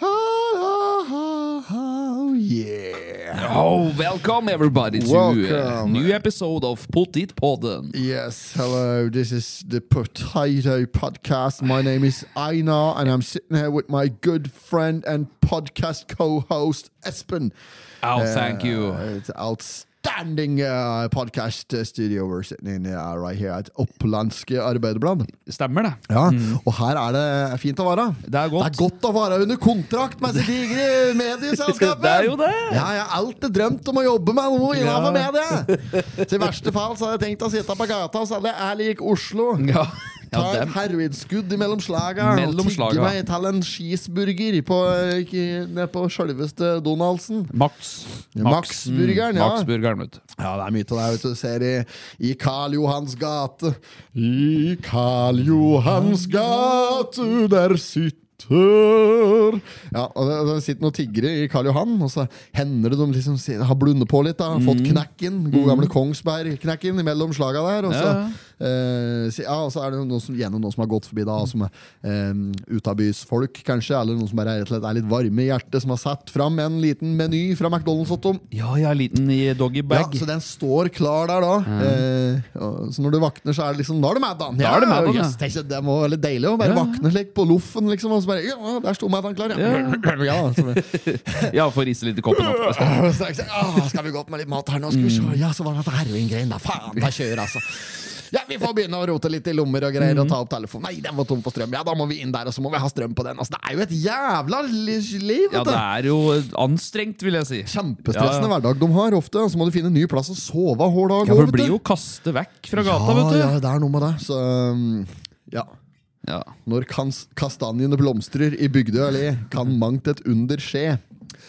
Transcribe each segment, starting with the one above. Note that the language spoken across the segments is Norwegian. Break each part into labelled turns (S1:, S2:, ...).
S1: Yo, Oh, welcome everybody to a
S2: Welcome.
S1: new episode of Put It Podden.
S2: Yes, hello. This is the Potato Podcast. My name is Einar, and I'm sitting here with my good friend and podcast co-host Espen.
S1: Oh, thank you.
S2: Uh, it's outstanding uh, podcast uh, studio we're sitting in uh, right here at Opplandske Arbeiderblad.
S1: Stemmer det.
S2: Ja, og her er det fint å være.
S1: Det er godt.
S2: Det er godt å være under kontrakt med disse digre medieselskapene!
S1: Det er jo det.
S2: Ja, jeg har alltid drømt om å jobbe med noe innenfor
S1: Ja.
S2: media! Så i verste fall så hadde jeg tenkt å sitte på gata og selge Jeg lik Oslo.
S1: Ja,
S2: Ta
S1: ja
S2: et
S1: dem.
S2: hervidskudd mellom slaga og
S1: Mellom slaga.
S2: tigge meg til en cheeseburger på, ikke- ned på sjølveste Donaldsen.
S1: Max. mm,
S2: Max-burgeren, ja.
S1: Max-burgeren, vet du.
S2: Ja, det er mye av det vet du. Du ser i, i Karl Johans gate. I Karl Johans gate, der sitter Ja, og det, det sitter noen tiggere i Karl Johan, og så hender det de liksom si- har blundet på litt. da Fått knekken. God gamle Kongsberg-knekken mellom slaga der. Og så,
S1: Ja,
S2: eh, si- ja, og så er det noen som, gjerne noen som har gått forbi, da som er eh, utabysfolk, kanskje. Eller noen som bare er, rett og slett er litt varme i hjertet, som har satt fram en liten meny fra McDonald's. Ottom.
S1: Ja, jeg er liten i doggybag.
S2: Ja, så den står klar der da. Eh, og- så når du vakner, så er det liksom Da er det Maddan!
S1: Mm. Da er det Maddan, ja.
S2: det, det må være litt deilig å bare
S1: Ja.
S2: vakne slik på loffen, liksom. Og så bare Ja, der sto Maddan klar, ja. ja. så bare,
S1: Ja, får risse litt i koppen opp.
S2: «Åh, straks, «Åh, skal vi gå opp med litt mat her nå? Skal vi
S1: Mm.
S2: se. Ja, så var det dette heroingreien, da. Faen, da kjører altså. Ja, Vi får begynne å rote litt i lommer og greier og ta opp telefonen. Nei, den var tom for strøm. Ja, da må vi inn der, og så må vi ha strøm på den. Altså, det er jo et jævla li- liv,
S1: Ja,
S2: vet du.
S1: det er jo anstrengt, vil jeg si.
S2: Kjempestressende
S1: Ja,
S2: hverdag de har ofte. Og så må du finne en ny plass å sove hver dag.
S1: Ja,
S2: også,
S1: for
S2: vet
S1: det
S2: du.
S1: blir jo kaste vekk fra gata,
S2: ja,
S1: vet du.
S2: Ja, det er noe med det. Så um, ja.
S1: Ja.
S2: Når kans kastanjene blomstrer i Bygdøy allé, kan mangt et under skje.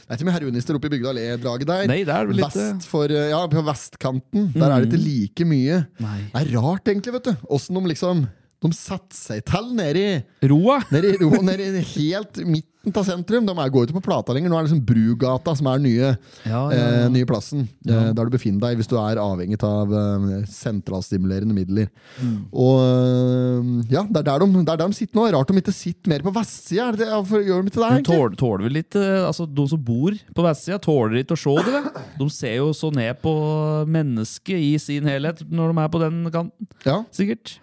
S2: Det er ikke mye heroinister oppe i Bygdøy allé-draget der.
S1: Nei, det er vel litt eh, Mm.
S2: Vest for, uh, ja, På vestkanten. Der er det ikke like mye.
S1: Nei.
S2: Det er rart, egentlig, vet du. Åssen de liksom De setter seg til nedi
S1: Roa.
S2: Nede i, ro- nede i helt midten av sentrum. De er- går ikke på Plata lenger. Nå er det liksom Brugata som er den nye,
S1: Ja, ja, ja.
S2: Eh, nye plassen. Eh, der du befinner deg hvis du er avhengig av eh, sentralstimulerende midler.
S1: Mm.
S2: Og eh, ja, det er der de, det er der de sitter nå. Rart de ikke sitter mer på vestsida. Er det det- Hvorfor gjør de ikke det?
S1: Men
S2: egentlig?
S1: tåler, tåler vel litt eh, Altså, De som bor på vestsida, tåler ikke å se det. vel? De ser jo så ned på mennesket i sin helhet når de er på den kanten.
S2: Ja,
S1: Sikkert.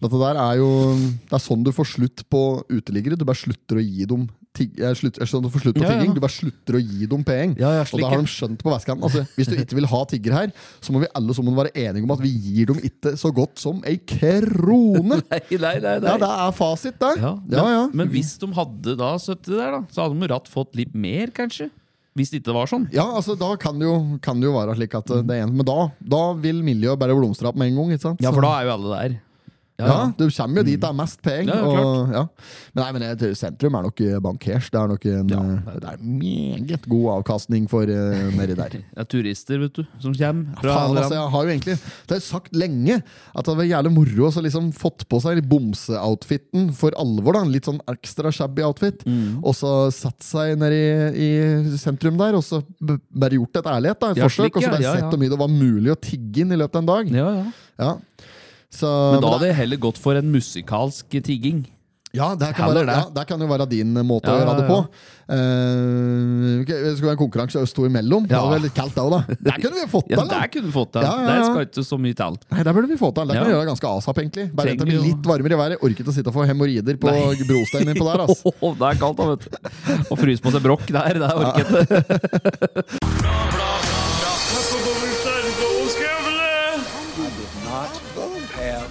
S2: dette der er jo Det er sånn du får slutt på uteliggere. Du bare slutter å gi dem tig, eh, slutt, eh, sånn du får slutt på
S1: Ja, ja.
S2: tigging. Du bare slutter å gi dem penger.
S1: Ja, ja,
S2: og
S1: slik,
S2: det har
S1: ja.
S2: de skjønt på vestkanten. Altså, hvis du ikke vil ha tigger her, så må vi alle sammen være enige om at vi gir dem ikke så godt som ei krone!
S1: Nei, nei, nei.
S2: Ja, det er fasit, det.
S1: Ja,
S2: Ja, ja.
S1: Men, men hvis de hadde da sittet der, da, så hadde de jo ratt fått litt mer, kanskje? Hvis det ikke var sånn.
S2: Ja, altså Da kan det jo, kan det jo være slik at eh, det er en Men da, da vil miljøet bare blomstre opp med en gang. ikke sant?
S1: Ja,
S2: Så-
S1: for da er jo alle der.
S2: Ja, du kommer jo dit det er mest penger.
S1: Ja, ja,
S2: og- ja. Men, nei, men jeg tror sentrum er nok eh, bankers. Det er nok en
S1: Ja,
S2: eh, det er meget god avkastning for eh, nedi der.
S1: ja. turister, vet du, som kommer. Fra
S2: Faen,
S1: alle
S2: altså,
S1: land.
S2: jeg har jo egentlig Det har jeg sagt lenge at det var jævlig moro å så liksom fått på seg bomseoutfiten for alvor. da Litt sånn ekstra shabby outfit.
S1: Mm.
S2: Og så satt seg ned i, i sentrum der og så b- bare gjort et ærlighet da et
S1: Ja,
S2: forsøk.
S1: slik,
S2: og så
S1: ja,
S2: bare
S1: ja, ja.
S2: sett hvor mye det var mulig å tigge inn i løpet av en dag.
S1: ja, ja.
S2: Ja. Så,
S1: Men da
S2: men
S1: hadde jeg heller gått for en musikalsk tigging.
S2: Ja, det kan,
S1: Heller
S2: være,
S1: det.
S2: ja, det kan jo være din måte å
S1: Ja,
S2: gjøre det
S1: ja,
S2: på.
S1: ja.
S2: Eh, ok, det skulle være en konkurranse oss to imellom. Det
S1: Ja.
S2: hadde vært litt kaldt òg, da. Der kunne vi jo fått
S1: Ja,
S2: til! da.
S1: Der kunne du fått det.
S2: Ja, ja, ja.
S1: Der skal ikke så mye til.
S2: Nei, der burde vi få til. Der kan vi
S1: Ja.
S2: gjøre det ganske asap, egentlig. Bare vent til det
S1: Trenger
S2: blir
S1: jo-
S2: litt varmere i været. Orker ikke å sitte og få hemoroider på brosteinen innpå der. ass.
S1: Åh, det er kaldt, da, vet du. Å fryse på seg brokk der, det orker jeg ikke.
S3: not have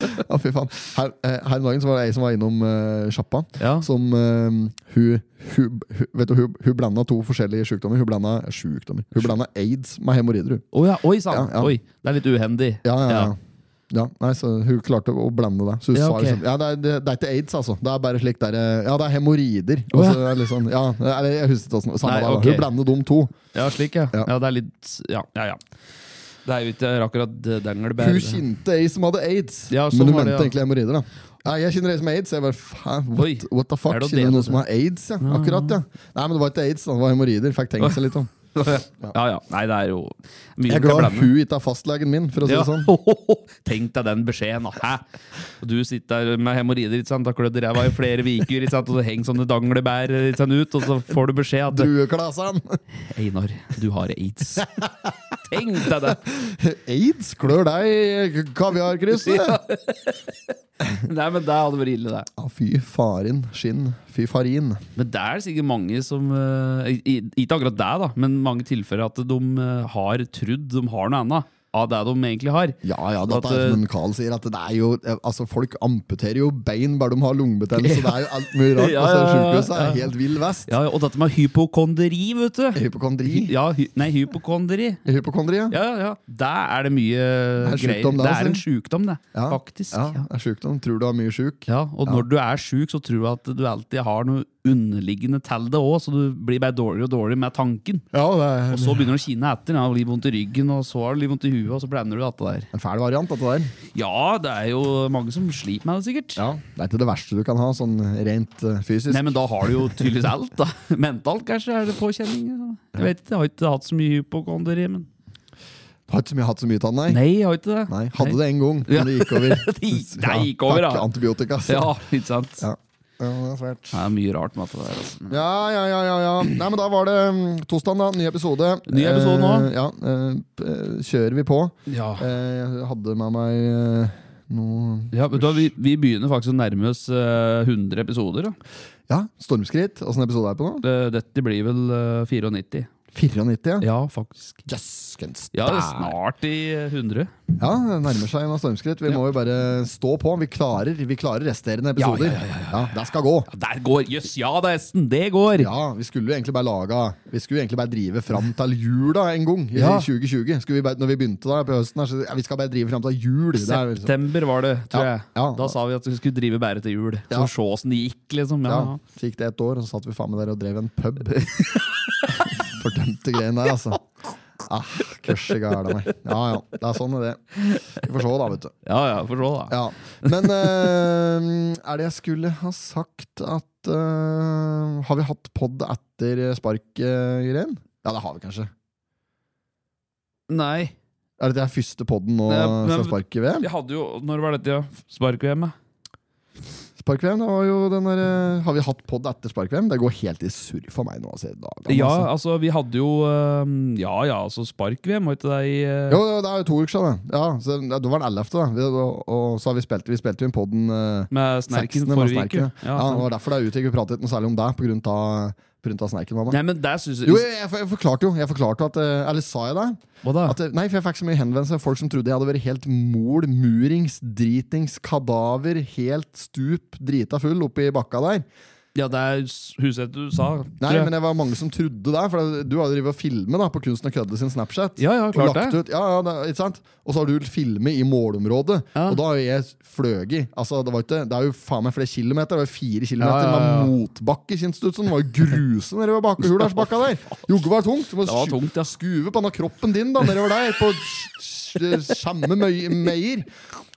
S2: Ja, fy faen. Her, eh, her om dagen så var det ei som var innom eh, sjappa.
S1: Ja.
S2: Som eh, hun, hun, hun, vet du, hun, hun blanda to forskjellige sykdommer. Hun blanda sjukdommer. Hun blanda aids med hemoroider. hun.
S1: Å ja, oi
S2: Ja,
S1: sann!
S2: ja.
S1: Oi, det er litt uhendig.
S2: Ja, ja, ja. ja, nei, så Hun klarte å blande det. Så hun
S1: Ja,
S2: sa
S1: ok.
S2: liksom, ja, det, er, det, det er ikke aids, altså. Det er bare slik der, eh, Ja, det er hemoroider.
S1: Å, ja.
S2: Og så er det litt sånn, ja, eller jeg husker ikke åssen. Samme
S1: Nei,
S2: det, da.
S1: ok.
S2: Hun blander de to.
S1: Ja, slik, ja.
S2: Ja.
S1: ja. Det er litt Ja, ja, ja. Det er jo ikke akkurat danglebær.
S2: Hun kjente ei som hadde aids,
S1: Ja, sånn
S2: men hun
S1: var det,
S2: mente
S1: ja.
S2: egentlig hemoroider. da. Nei, jeg kjenner ei som har aids. Jeg bare, faen,
S1: Oi,
S2: what, what the fuck?
S1: er det
S2: Kjenner
S1: det
S2: jeg
S1: det-
S2: noen som har aids? Ja. Akkurat, ja. Nei, men det var ikke aids, da. det var hemoroider. Fikk tenkt seg litt om.
S1: Ja, ja. Nei, det er jo
S2: Jeg er
S1: mye som kan
S2: glad
S1: blande.
S2: hun ikke er fastlegen min, for å si
S1: Ja.
S2: det sånn.
S1: Tenk deg den beskjeden, da. Hæ? Og du sitter der med hemoroider, ikke sant? har klødd i ræva i flere uker, ikke sant? og så henger sånne danglebær ikke sant, ut, og så får du beskjed at
S2: Drueklasen!
S1: Einar, du har aids. Tenk deg det!
S2: Aids klør deg i kaviarkrysset! Ja.
S1: Nei, men det hadde vært ille, det.
S2: fy farin skinn. Fy farin.
S1: Men det er sikkert mange som eh, i- i- Ikke akkurat deg, da, men mange tilfeller at de eh, har trodd de har noe annet av det de egentlig har.
S2: Ja, ja,
S1: Sånn
S2: dette
S1: at,
S2: er
S1: eh,
S2: som en Carl sier, at det er jo Altså, folk amputerer jo bein bare de har lungebetennelse, så det er jo alt mye rart.
S1: Ja,
S2: altså,
S1: ja, ja,
S2: Sjukehuset
S1: ja.
S2: er helt vill vest.
S1: Ja, og dette med hypokonderi, vet du.
S2: Hypokondri.
S1: Ja, hy nei, hypokonderi.
S2: Hypokondri, ja.
S1: Ja, ja, ja. Der er det mye
S2: Det er en
S1: greier.
S2: sjukdom, det,
S1: Det er
S2: altså.
S1: en sjukdom, det.
S2: Ja,
S1: Faktisk.
S2: Ja,
S1: Ja.
S2: det er sjukdom. Tror du er mye sjuk?
S1: Ja, og når du er sjuk, så tror du at du alltid har noe underliggende til det òg, så du blir bare dårligere og dårligere med tanken.
S2: Ja, det er
S1: Og så begynner du å kine etter. Ja, og litt vondt i ryggen, og så har du litt vondt i huet, og så blander du dette der.
S2: en fæl variant, dette der.
S1: Ja, det er jo mange som sliter med det, sikkert.
S2: Det er ikke det verste du kan ha, sånn rent eh, fysisk.
S1: Nei, men da har du jo tydeligvis alt, da. Mentalt kanskje er det påkjenninger. Jeg vet ikke, jeg har ikke hatt så mye hypokonderi, men
S2: Du har ikke så mye, hatt så mye tann, nei.
S1: Nei, jeg har ikke det.
S2: Nei, Hadde det en gang, men det gikk over.
S1: Det gikk- det gikk over,
S2: ja.
S1: da.
S2: Fuck antibiotika, altså.
S1: Ja, ikke sant.
S2: Ja. Ja, det er svært.
S1: Det er mye rart med dette der, altså.
S2: Ja, ja, ja, ja, ja. Nei, men da var det mm, tosdagen, da. Ny episode.
S1: Ny episode nå.
S2: Eh, ja, eh, p- eh, kjører vi på.
S1: Ja.
S2: Eh, jeg hadde med meg eh, noe
S1: Ja, vet du, hva, vi, vi begynner faktisk å nærme oss eh, 100 episoder. Da.
S2: Ja, stormskritt. Åssen episode er det på nå?
S1: Det, dette blir vel eh, 94.
S2: 94, ja.
S1: Ja, faktisk.
S2: Jøskens
S1: Ja, det er snart i eh, 100.
S2: Ja, det nærmer seg en stormskritt. Vi må jo bare stå på. Vi klarer, vi klarer resterende
S1: Ja, ja,
S2: episoder.
S1: ja, ja,
S2: det skal gå.
S1: Ja, der går Jøss, ja da, Esten! Det går!
S2: Ja, Vi skulle jo egentlig bare laga Vi skulle jo egentlig bare drive fram til jula en gang. I
S1: Ja.
S2: 2020 skulle vi bare, Når vi begynte da på høsten, her, så ja, vi skal bare drive fram til jul. Det er vel sånn.
S1: September var det, tror
S2: Ja,
S1: jeg.
S2: ja.
S1: Da sa vi at vi skulle drive bæret til jul.
S2: Ja.
S1: Så se åssen det gikk, liksom. Ja.
S2: Ja, Så gikk det ett år, og så satt vi faen meg der og drev en pub. Fordømte greiene der, altså. Ah, Kurse gæla meg. Ja ja, det er sånn det er. Vi får se, da, vet du.
S1: ja, ja, får se, da.
S2: Ja. Men eh, er det jeg skulle ha sagt at eh, Har vi hatt pod etter spark-greien? ja, det har vi kanskje.
S1: Nei.
S2: Er dette første podden nå
S1: Nei, men-
S2: fra spark-VM?
S1: Jeg hadde jo Når var dette? Ja? Spark-VM? ja?
S2: Spark-VM, det var jo den der, eh, Har vi hatt pod etter spark-VM? Det går helt i surr for meg nå. Altså, i dag, altså.
S1: Ja, altså, vi hadde jo eh, Ja ja, altså Spark-VM, var ikke det i eh,
S2: Jo, jo, det er jo to uker siden. det. Ja, så det- Da var den 11., da. Vi, og, og så har vi spilt Vi spilte jo inn podden eh,
S1: Med Snerken
S2: 16. med
S1: forrige uke.
S2: Snerken. Ja, det var derfor det utgikk. Vi pratet ikke noe særlig om deg på grunn av, på grunn av Snerken. Mamma.
S1: Nei, men der synes jeg
S2: Jo, jeg, jeg, for- jeg forklarte jo. Jeg forklarte at, eh, eller sa jeg det?
S1: Hva da?
S2: At, eh, nei, for Jeg fikk så mye henvendelser av folk som trodde jeg hadde vært helt mol, murings, dritings, kadaver, helt stup, drita full oppi bakka der.
S1: Ja, det er s- Huseth du sa.
S2: Nei, men det var mange som trodde det. For det- du har jo drevet og filmet da, på Kunsten og kødde sin Snapchat.
S1: Ja, ja, klart
S2: og lagt
S1: det.
S2: Ut, ja, ja, det, ikke sant? Og så har du filmet i målområdet,
S1: Ja.
S2: og da har jeg fløget. Altså, det, var ikke, det er jo faen meg flere kilometer. Det var jo fire kilometer
S1: Ja, ja, ja.
S2: med motbakke, kjennes det ut som. Det var jo grusom nede ved bakehullersbakka der. Jogge var tungt. Du må
S1: Det var
S2: sju-
S1: tungt, ja.
S2: skuve på denne kroppen din da, nedover der, på s- s- samme møy- meier.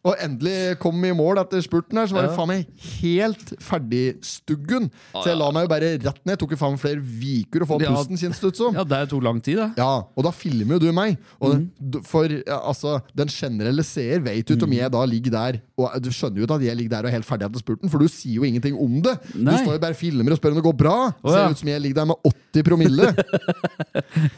S2: Og endelig kom vi i mål etter spurten her, så var det
S1: Ja. Ah,
S2: faen meg helt ferdigstuggen. Så jeg la meg jo bare rett ned. Tok jo faen meg flere viker å få
S1: Ja.
S2: pusten, kjennes det ut som.
S1: Ja, det tok lang tid, det.
S2: Ja, og da filmer jo du meg. Og
S1: Mhm.
S2: d- For ja, altså, den generelle seer vet jo ikke
S1: Mhm.
S2: om jeg da ligger der Og eh, Du skjønner jo ikke at jeg ligger der og er helt ferdig etter spurten, for du sier jo ingenting om det. Du
S1: Nei.
S2: står jo bare og filmer og spør om det går bra.
S1: ja.
S2: Ser ut som jeg ligger der med 80 promille.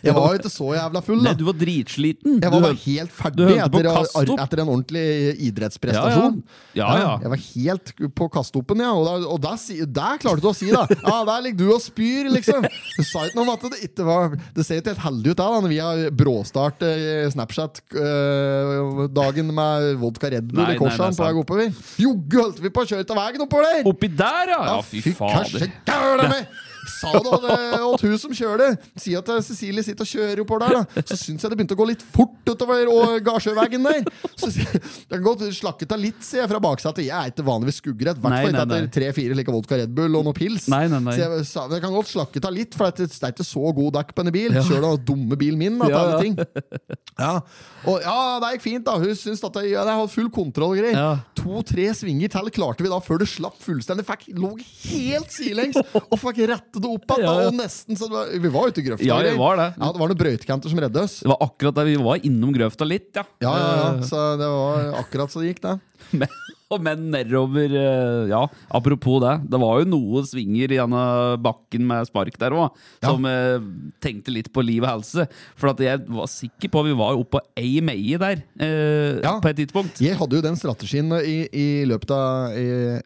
S2: Jeg var jo ikke så jævla full,
S1: Nei,
S2: da.
S1: du var dritsliten.
S2: Jeg var
S1: Du-
S2: bare helt ferdig
S1: du hørte på
S2: etter,
S1: kast opp.
S2: etter en ordentlig
S1: ja, ja.
S2: idrettsprestasjon.
S1: ja, ja.
S2: Jeg var helt på kastoppen, ja. Og der, og der, si- der klarte du å si, da. Ja, der ligger du og spyr, liksom. Du sa ikke noe om at det ikke var Det ser ikke helt heldig ut, da, da når vi har bråstart eh, Snapchat-dagen med vodka Red Bull
S1: Nei,
S2: i
S1: nei, det er
S2: korsene på vei
S1: sant.
S2: oppover. Joggu holdt vi på å kjøre til veien oppover der!
S1: Oppi der, ja! Ja, fy
S2: kanskje
S1: fader.
S2: gæren med! Sa du hadde åt hun som kjører det. Si at eh, Cecilie sitter og kjører oppover der, da. Så syns jeg det begynte å gå litt fort utover og Gardsjøvegen der. Så sier jeg, det kan godt slakket av litt, sier jeg fra baksetet. Jeg er ikke vanligvis skuggredd. I hvert
S1: Nei,
S2: fall ikke
S1: nei,
S2: etter tre-fire like vodka Red Bull og noe pils.
S1: Nei, nei, nei.
S2: Så jeg sa, men jeg kan godt slakke av litt, for det er ikke så god dekk på denne bil. Kjør da dumme bilen min, da. til
S1: Ja,
S2: alle
S1: ja.
S2: ting. Ja. Og ja, det gikk fint, da. Hun syntes at jeg, ja, jeg hadde full kontroll og greier.
S1: Ja.
S2: To-tre svinger til klarte vi da før det slapp fullstendig. Fikk, lå helt sidelengs og fikk rette det opp igjen. da,
S1: Ja, ja.
S2: Og nesten så det var, Vi var ute i grøfta.
S1: Ja,
S2: og
S1: det
S2: greier.
S1: var det.
S2: Ja, det var noen brøytekanter som redde oss.
S1: Det var akkurat der vi var innom grøfta litt, ja. Øh,
S2: Ja, ja, ja. Så det var akkurat så det gikk, det.
S1: Men, og men nedover eh, Ja, apropos det. Det var jo noen svinger i denne bakken med spark der òg, som eh, tenkte litt på liv og helse. For at jeg var sikker på Vi var jo oppå ei meie der eh,
S2: Ja.
S1: på et tidspunkt.
S2: Jeg hadde jo den strategien i, i løpet av i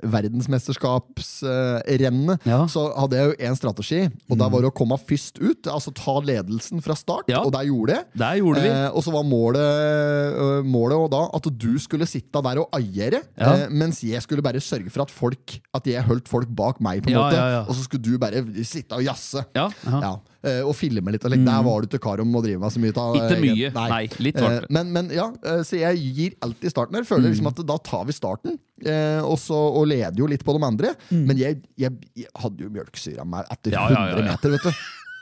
S2: verdensmesterskapsrennet.
S1: Ja. Mm.
S2: Så hadde jeg jo én strategi, og det var å komme først ut. Altså ta ledelsen fra start,
S1: Ja.
S2: og det gjorde jeg.
S1: Der gjorde vi.
S2: Eh, og så var målet, øh, målet og da at du skulle sitte der og eiere,
S1: Ja.
S2: eh, mens jeg skulle bare sørge for at folk At jeg holdt folk bak meg, på en
S1: Ja,
S2: måte.
S1: ja, ja.
S2: Og så skulle du bare sitte og jazze.
S1: Ja, ja. Mm.
S2: Ja, eh, og filme litt. Og like, Der var du ikke kar om å drive med så mye. Ta,
S1: Ikke
S2: eh,
S1: mye.
S2: nei.
S1: Nei, litt Mm.
S2: Eh,
S1: vart det.
S2: men, men ja, eh, så jeg gir alltid starten her. Føler liksom at da tar vi starten, eh, og, så, og leder jo litt på de andre. Men jeg, jeg, jeg hadde jo mjølkesyra meg etter
S1: Mm. Ja, ja, ja,
S2: 100
S1: ja.
S2: meter, vet du.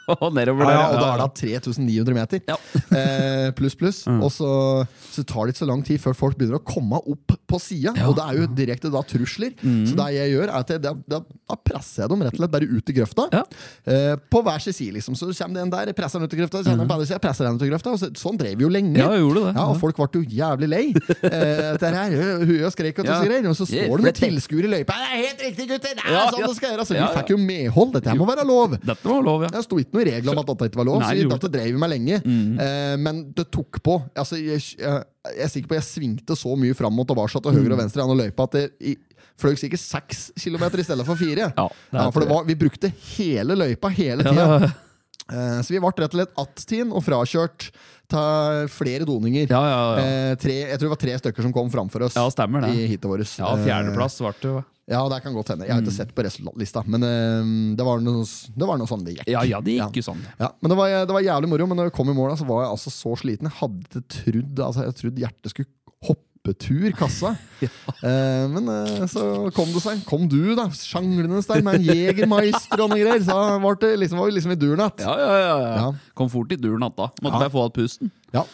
S1: Og nedover
S2: Ja,
S1: der.
S2: ja, og da
S1: ja,
S2: er det 3900 meter.
S1: Ja. Mm.
S2: eh, pluss, pluss. Og så, så tar det ikke så lang tid før folk begynner å komme opp på sida. Og det er jo direkte da trusler.
S1: Mm.
S2: Så det jeg gjør, er at jeg, da, da, da presser jeg dem rett og slett bare ut i grøfta.
S1: Ja.
S2: Eh, på hver sin side, liksom. Så kommer det en der, jeg presser den ut i grøfta. Så kommer den på andre siden, jeg presser den ut i grøfta. Og så, sånn drev vi jo lenge.
S1: Mm. Ja, vi gjorde det.
S2: Ja, og
S1: Ja.
S2: folk ble jo jævlig lei. Eh, dette her, Huet og skrek og
S1: Ja.
S2: tusen greier. Og så
S1: Yeah,
S2: står det noen
S1: flette.
S2: tilskuere i løypa. Det er helt riktig, gutter! Det er
S1: Ja,
S2: sånn
S1: ja.
S2: det skal gjøres! Så vi
S1: Ja, ja.
S2: fikk jo medhold. Dette her må være lov.
S1: Dette var lov, ja.
S2: Det sto ikke noe regler om at dette ikke var lov,
S1: Nei, Mm. det
S2: så
S1: gjorde
S2: dette drev vi med lenge. Eh, men det tok på. Altså, jeg, jeg, jeg er sikker på jeg svingte så mye fram og tilbake til
S1: Mm.
S2: høyre og venstre gjennom løypa at jeg i- fløy sikkert seks kilometer i stedet for fire.
S1: Ja, det er
S2: for det
S1: det.
S2: var, vi brukte hele løypa hele tida.
S1: Ja, ja.
S2: Eh, så vi ble rett og slett attien og frakjørt til flere doninger.
S1: Ja, ja, ja.
S2: Eh, tre, jeg tror det var tre stykker som kom framfor oss
S1: Ja, stemmer det.
S2: i hitet vårt. Eh,
S1: ja fjerdeplass Mm. ble det. jo.
S2: Ja, det kan godt hende. Jeg har ikke sett på resultatlista, men eh, det var noe, det var noe sånn det gikk.
S1: Ja, ja, det gikk jo sånn.
S2: Ja, men det var, eh, det var jævlig moro, men når jeg kom i mål, da, så var jeg altså så sliten. Jeg hadde ikke trodd altså, Jeg trodde hjertet skulle hoppetur kassa. eh, men eh, så kom det seg. Kom du, da, sjanglende der med en jegermeister og noe greier. Så var, det liksom, var vi liksom i duren igjen.
S1: Ja, ja, ja, ja.
S2: Ja.
S1: Kom fort i duren natta. Måtte
S2: Ja.
S1: bare få av pusten.
S2: Ja.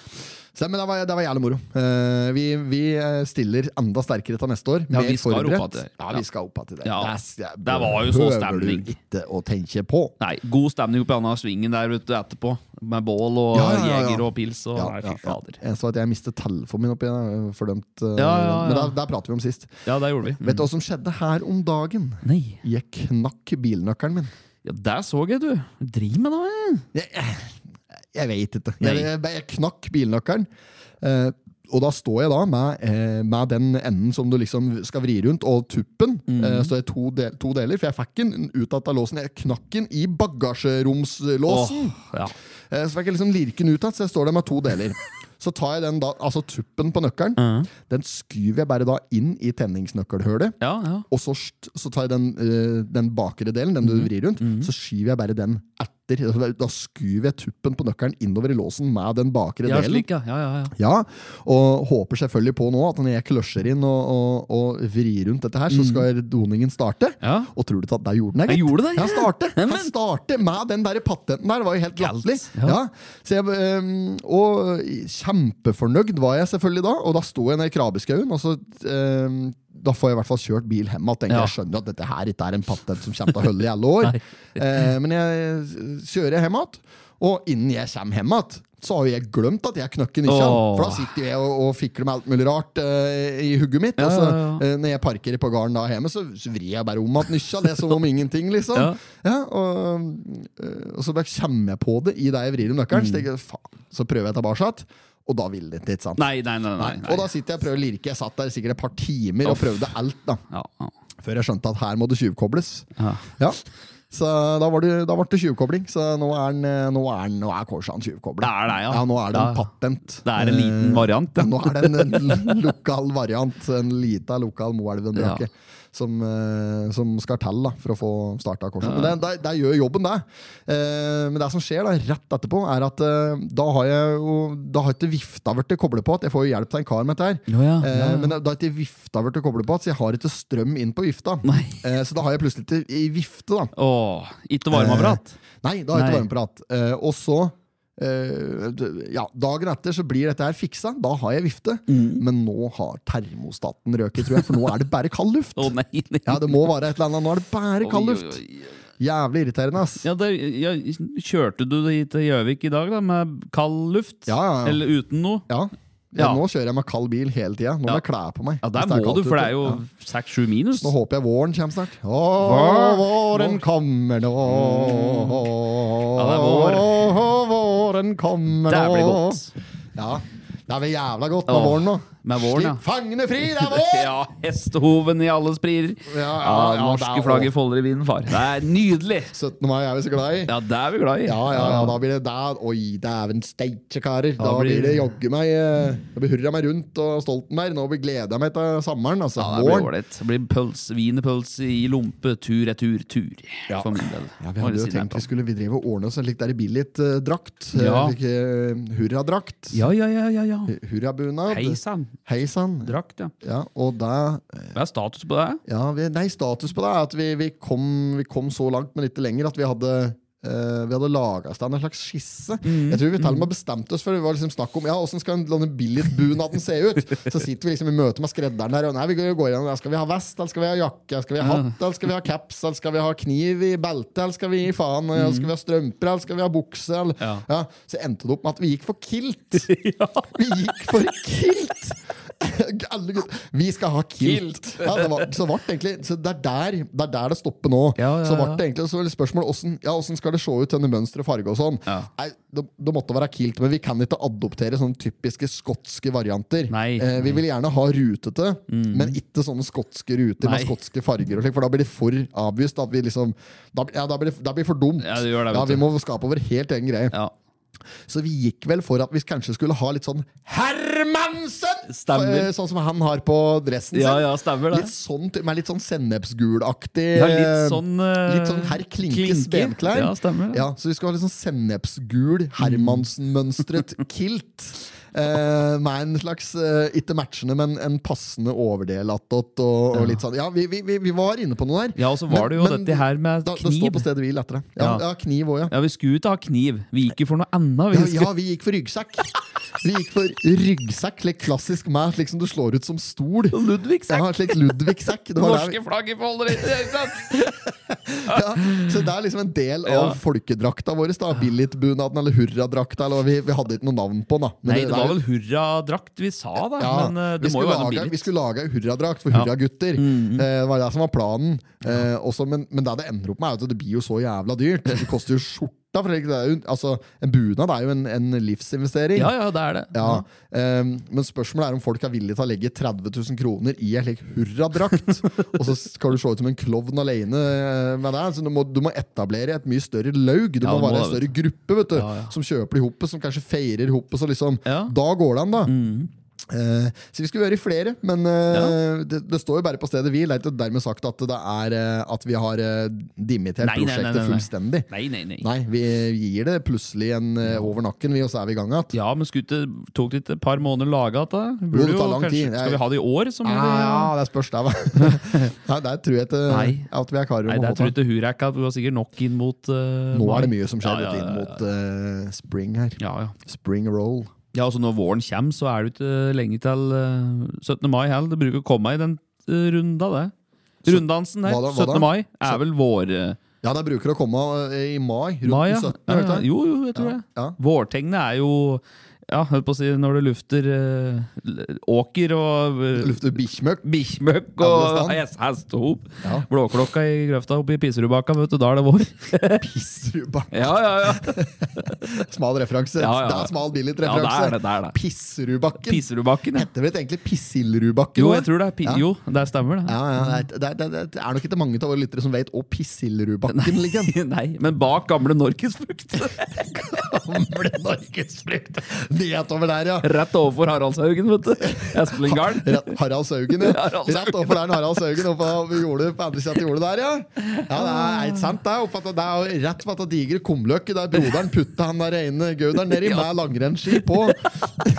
S2: Så, men det var, det var jævlig moro. Eh, vi, vi eh, stiller enda sterkere til neste år.
S1: Ja,
S2: mer
S1: vi skal opp
S2: forberedt.
S1: igjen.
S2: Ja,
S1: Ja.
S2: vi skal opp igjen til det.
S1: Ja.
S2: Det, er-
S1: Det var jo så
S2: behøver du
S1: stemning.
S2: Ikke å tenke på.
S1: Nei, god stemning oppi denne svingen der vet du, etterpå. Med bål og
S2: Ja, ja, ja, ja.
S1: jeger og pils og Nei, fy fader.
S2: Jeg så at jeg mistet telefonen min oppi der. Fordømt. eh,
S1: Ja,
S2: Men
S1: ja, ja. Mm.
S2: der, der prater vi om sist.
S1: Ja, det gjorde vi.
S2: Vet du hva som skjedde her om dagen?
S1: Nei.
S2: Jeg knakk bilnøkkelen min.
S1: Ja, der så jeg, du. Driv med noe. jeg.
S2: Jeg, eh, jeg vet ikke.
S1: Nei.
S2: Jeg, jeg, jeg knakk bilnøkkelen. Eh, og da står jeg da med, eh, med den enden som du liksom skal vri rundt, og tuppen.
S1: Mm.
S2: Eh, så det er to, del, to deler, for jeg fikk den ut av låsen. Jeg knakk den i
S1: Åh,
S2: bagasjeromslåsen.
S1: ja.
S2: Eh, så fikk jeg liksom lirke den ut igjen, så jeg står der med to deler. Så tar jeg den da, altså tuppen på nøkkelen, den skyver jeg bare da inn i tenningsnøkkelhølet.
S1: Ja, ja.
S2: Og så, st- så tar jeg den, eh, den bakre delen, den du
S1: Mhm.
S2: vrir rundt, så skyver jeg bare den etter. Da skyver jeg tuppen på nøkkelen innover i låsen med den bakre
S1: Ja,
S2: delen.
S1: slik, ja. Ja, ja, ja.
S2: Ja, Og håper selvfølgelig på nå at når jeg kløsjer inn og, og, og vrir rundt dette her,
S1: Mhm.
S2: så skal doningen starte.
S1: Ja.
S2: Og tror du ikke at der gjorde den
S1: Jeg gjorde det,
S2: ja.
S1: ja.
S2: Han starter Han
S1: Neimen.
S2: starter med den der patenten der. Det var jo helt latterlig. Ja.
S1: ja.
S2: Så jeg, ehm, og kjempefornøyd var jeg selvfølgelig da, og da sto jeg nede i krabbeskauen. Og så, ehm, da får jeg i hvert fall kjørt bil hjem igjen. tenker
S1: Ja.
S2: Jeg skjønner at dette her ikke er en patent som kommer til å holde i alle år.
S1: Nei.
S2: Eh, men jeg kjører hjem igjen, og innen jeg kommer hjem igjen så har jo jeg glemt at jeg knøkker nisja.
S1: Åh.
S2: For da sitter jeg og, og fikler med alt mulig rart eh, i hugget mitt. og så,
S1: ja, ja.
S2: eh, når jeg parkerer på gården da hjemme, så så vrir jeg bare om at nisja. Det er som om ingenting, liksom.
S1: Ja.
S2: Ja, og, øh, og så bare kommer jeg på det i det jeg vrir om nøkkelen.
S1: Mm.
S2: Så, tenker jeg, faen, så prøver jeg tilbake, igjen, og da vil det ikke. ikke sant?
S1: Nei, nei, nei. nei, nei.
S2: Og da sitter jeg og prøver å lirke. Jeg satt der sikkert et par timer og prøvde alt. da
S1: Ja, ja.
S2: Før jeg skjønte at her må det tjuvkobles.
S1: Ja.
S2: Ja. Så da var det, da ble det tjuvkobling. Så nå er, den, eh, nå er, den, nå er Korsan tjuvkobla.
S1: Det er det, ja.
S2: nå er det en
S1: Ja.
S2: patent.
S1: Det er en liten
S2: Eh,
S1: variant, ja.
S2: Nå er det en, en lokal variant. En lita lokal Moelven-brake.
S1: Ja.
S2: som, eh, som skal til da, for å få starta korset. Men det, det, det gjør jobben, det. Eh, men det som skjer da, rett etterpå, er at eh, da har jeg jo Da har ikke vifta blitt koblet på. At jeg får jo hjelp av en kar med dette her.
S1: Å ja,
S2: Eh,
S1: ja, ja.
S2: Men da har ikke vifta blitt koblet på, så jeg har ikke strøm inn på vifta.
S1: Nei.
S2: Eh, Så da har jeg plutselig ikke i vifte, da.
S1: Åh, ikke
S2: Eh,
S1: varmeapparat?
S2: Nei, da har jeg ikke
S1: Nei.
S2: varmeprat. Eh, Og så eh, d- ja, Dagen etter så blir dette her fiksa. Da har jeg vifte.
S1: Mm.
S2: Men nå har termostaten røket, tror jeg, for nå er det bare kald luft.
S1: Å nei, nei.
S2: Ja, det må være et eller annet. Nå er det bare kald
S1: Oi,
S2: luft.
S1: oi, oi.
S2: Jævlig irriterende, ass.
S1: Ja, der, ja, kjørte du hit til Gjøvik i dag da, med kald luft?
S2: Ja, ja, ja.
S1: Eller uten noe?
S2: Ja. Ja,
S1: Ja.
S2: Nå kjører jeg med kald bil hele tida. Nå må jeg kle på meg.
S1: Ja,
S2: hvis
S1: der må
S2: kaldt
S1: du, for det
S2: ute.
S1: er jo
S2: Ja.
S1: 6-7 minus.
S2: Nå håper jeg våren kommer snart. Å,
S1: Vår-
S2: våren kommer nå.
S1: Mm. Ja, det er vår.
S2: Å, våren kommer nå.
S1: Det blir godt.
S2: Ja, det er vel jævla godt
S1: Åh,
S2: med våren nå.
S1: med våren, ja.
S2: Slipp fangene fri, det er vår!
S1: Ja, hestehoven i alle sprir.
S2: Ja, ja, ja,
S1: norske
S2: det er
S1: flagget folder i vinden, far. Det er nydelig!
S2: 17. mai er vi så glad i.
S1: Ja, det er vi glad i.
S2: Ja, ja, ja, da blir det der. Oi, dæven steike, karer. Da,
S1: blir-
S2: blir det jogge meg eh, Da blir hurra meg rundt og Stoltenberg. Nå blir gleder jeg meg til sommeren. Altså,
S1: Ja, det blir
S2: våren.
S1: ålreit. Det blir pølse, wienerpølse i lompe, tur retur, tur.
S2: Ja.
S1: For min del.
S2: Ja, vi hadde jo tenkt vi skulle vi drev og ordne oss en slik der i eh, billit-drakt.
S1: Ja.
S2: eh, Hurradrakt.
S1: Ja, ja, ja, ja. ja.
S2: Hurrabunad.
S1: Hei sann.
S2: Hei sann.
S1: Drakt, ja.
S2: Ja, og da
S1: Hva er status på det?
S2: ja, vi, Nei, status på det er at vi, vi, kom, vi kom så langt, men ikke lenger, at vi hadde eh, vi hadde laga oss en slags skisse.
S1: Mm,
S2: Jeg tror Vi til og med bestemte oss for det var liksom snakk om Ja, hvordan skal en- denne billigbunaden se ut. Så sitter vi liksom i møte med skredderen her. Og nei, vi går igjen, Skal vi ha vest, eller skal vi ha jakke, eller skal vi ha hatt, eller skal vi ha caps, eller skal vi ha kniv i beltet, eller skal vi gi faen, eller skal vi ha strømper, eller skal vi ha bukse? Eller,
S1: Mm. Ja.
S2: ja. Så endte det opp med at vi gikk for kilt. Vi gikk for kilt! Alle gutter. Vi skal ha kilt! Ja, det var, så vart det egentlig Så det er der det, er der det stopper nå.
S1: Ja, ja,
S2: Så vart
S1: ja.
S2: det egentlig så var det spørsmålet hvordan, ja, hvordan skal det se ut, denne mønsteret og farge og sånn.
S1: Ja.
S2: Nei, det, det måtte være kilt, men vi kan ikke adoptere sånne typiske skotske varianter.
S1: Nei. Mm.
S2: eh, vi vil gjerne ha rutete, men ikke sånne skotske ruter
S1: Nei.
S2: med skotske farger, og slik, for da blir det for avvist. Da, blir liksom, da, ja, da, blir det, da blir det for dumt.
S1: Ja, det gjør det, vet
S2: ja,
S1: du.
S2: vi må skape vår helt egen greie.
S1: Ja.
S2: Så vi gikk vel for at vi kanskje skulle ha litt sånn Hermansen!
S1: Stemmer.
S2: For, eh, Sånn som han har på dressen
S1: Ja,
S2: sin.
S1: ja, stemmer det.
S2: Litt sånn, ty- med litt sånn sennepsgulaktig
S1: Ja, litt
S2: eh,
S1: sånn eh,
S2: Litt sånn herr Klinkes
S1: Klinke.
S2: benklær.
S1: Ja, stemmer det.
S2: Ja, så vi skal ha litt sånn
S1: Mm.
S2: sennepsgul, Hermansen-mønstret kilt. Eh, med en slags, eh, ikke matchende, men en passende overdel attåt. Og, og litt sånn. Ja, vi, vi, vi- vi var inne på noe der.
S1: Ja, og så var det jo dette her med
S2: da, Det står
S1: kniv.
S2: på stedet hvil etter det. Ja,
S1: Ja.
S2: ja. kniv også, ja.
S1: Ja, vi skulle ikke ha kniv. Vi gikk jo for noe annet.
S2: Ja,
S1: Vi
S2: ja, vi gikk for ryggsekk. Vi gikk for ryggsekk, slik klassisk meg, slik som du slår ut som stol.
S1: Ludvigsekk.
S2: Ja, slik Ludvig-sekk. Det var der-
S1: Norske flagg i folder, ikke sant?
S2: Ja, så det er liksom en del av
S1: Ja.
S2: folkedrakta vår. da. Billigbunaden eller hurradrakta. Eller, hva vi, vi hadde ikke noe navn på den. da. Men
S1: Nei,
S2: det-
S1: det
S2: det er-
S1: var vel hurradrakt vi sa, da.
S2: Ja,
S1: Men eh,
S2: vi,
S1: det må jo
S2: skulle
S1: være noe Mm,
S2: lage, vi
S1: billig.
S2: skulle lage en hurradrakt for hurragutter. Eh, Det var det som var planen. Eh, også, men, men det det ender opp med, er at det blir jo så jævla dyrt. Det koster jo skjorta. For det er jo, altså, en bunad er jo en, en livsinvestering.
S1: Ja, ja, det er det.
S2: Ja, ehm, Men spørsmålet er om folk er villige til å legge 30 000 kroner i en slik hurradrakt. og så skal du se ut som en klovn alene eh, med det. Så du, må, du må etablere et mye større laug. Du
S1: Ja,
S2: må
S1: du må
S2: være en
S1: det,
S2: større gruppe vet du,
S1: Ja, ja.
S2: som kjøper de hoppet, som kanskje feirer hoppet. Så liksom,
S1: Ja. Mm.
S2: da går det an, da. Eh, så vi skulle være flere, men eh, det, det står jo bare på stedet hvil. Det er ikke dermed sagt at, det er, eh, at vi har eh, dimittert
S1: Nei, nei, nei,
S2: prosjektet
S1: nei, nei.
S2: fullstendig.
S1: Nei, nei, nei.
S2: Nei, vi gir det plutselig en eh, over nakken, vi, og så er vi i gang igjen.
S1: Ja, men skulle ikke- tok det ikke et par måneder å lage igjen? da?
S2: Jo,
S1: Burde
S2: det tar
S1: jo
S2: lang
S1: kanskje-
S2: tid.
S1: Skal vi ha det i år? Som
S2: Ja,
S1: vi-
S2: ja, det spørs der, hva. Nei, der tror jeg ikke
S1: Nei.
S2: at vi er karer
S1: Nei,
S2: om å
S1: det
S2: få
S1: tror jeg
S2: til.
S1: ikke Hurekka. Du har sikkert nok inn mot eh,
S2: Nå
S1: mai.
S2: er det mye som skjer
S1: Ja, ja,
S2: inn
S1: ja,
S2: mot eh, spring her.
S1: Ja, ja.
S2: Spring roll.
S1: ja, altså Når våren kommer, så er det ikke lenge til eh, 17. mai heller. Det bruker å komme i den eh, runda, det. Runddansen der.
S2: Hva da, hva
S1: 17.
S2: da?
S1: mai er vel vår... eh,
S2: Ja, det bruker å komme eh, i mai. Rundt
S1: mai,
S2: mai,
S1: ja.
S2: 17.
S1: Ja,
S2: vet
S1: ja.
S2: du.
S1: Jo, jo, jeg tror
S2: Ja,
S1: det.
S2: ja.
S1: Vårtegnet er jo Ja, holdt på å si Når du lufter eh, l- åker og eh,
S2: Lufter bikkjemøkk.
S1: Bikkjemøkk
S2: Alle
S1: og
S2: stand.
S1: hest- hestehop.
S2: Ja.
S1: Blåklokka i grøfta oppe i Piserudbakka, vet du. Da er det vår.
S2: Pisserudbakk.
S1: Ja, ja, ja.
S2: Smal referanse.
S1: Ja, ja.
S2: Det er smal
S1: ja det er det.
S2: billig-referanse.
S1: det, er det.
S2: Pisserudbakken.
S1: Piserudbakken, ja.
S2: Det er vel egentlig Pissildrudbakken?
S1: Jo,
S2: nå,
S1: jeg tror det er pi
S2: Ja.
S1: Jo, det stemmer, det.
S2: Ja, ja, det, er, det, er, det er nok ikke mange av våre lyttere som vet å Pissildrudbakken ligger.
S1: Nei, men bak gamle Norgesfrukt.
S2: Gamle norgesfrukt. Nedover der, ja.
S1: Rett overfor Haraldshaugen, vet du. Espelinggarden.
S2: Rett- Harald Saugen, ja.
S1: Harald Saugen.
S2: Rett overfor der Harald Saugen oppe på jordet, på andre siden av jordet der, ja. Ja, det er helt sant, det. Oppe at det er jo rett ved at det digre kumløkket der broderen putta han der ene gauderen nedi
S1: Ja.
S2: med langrennsski på.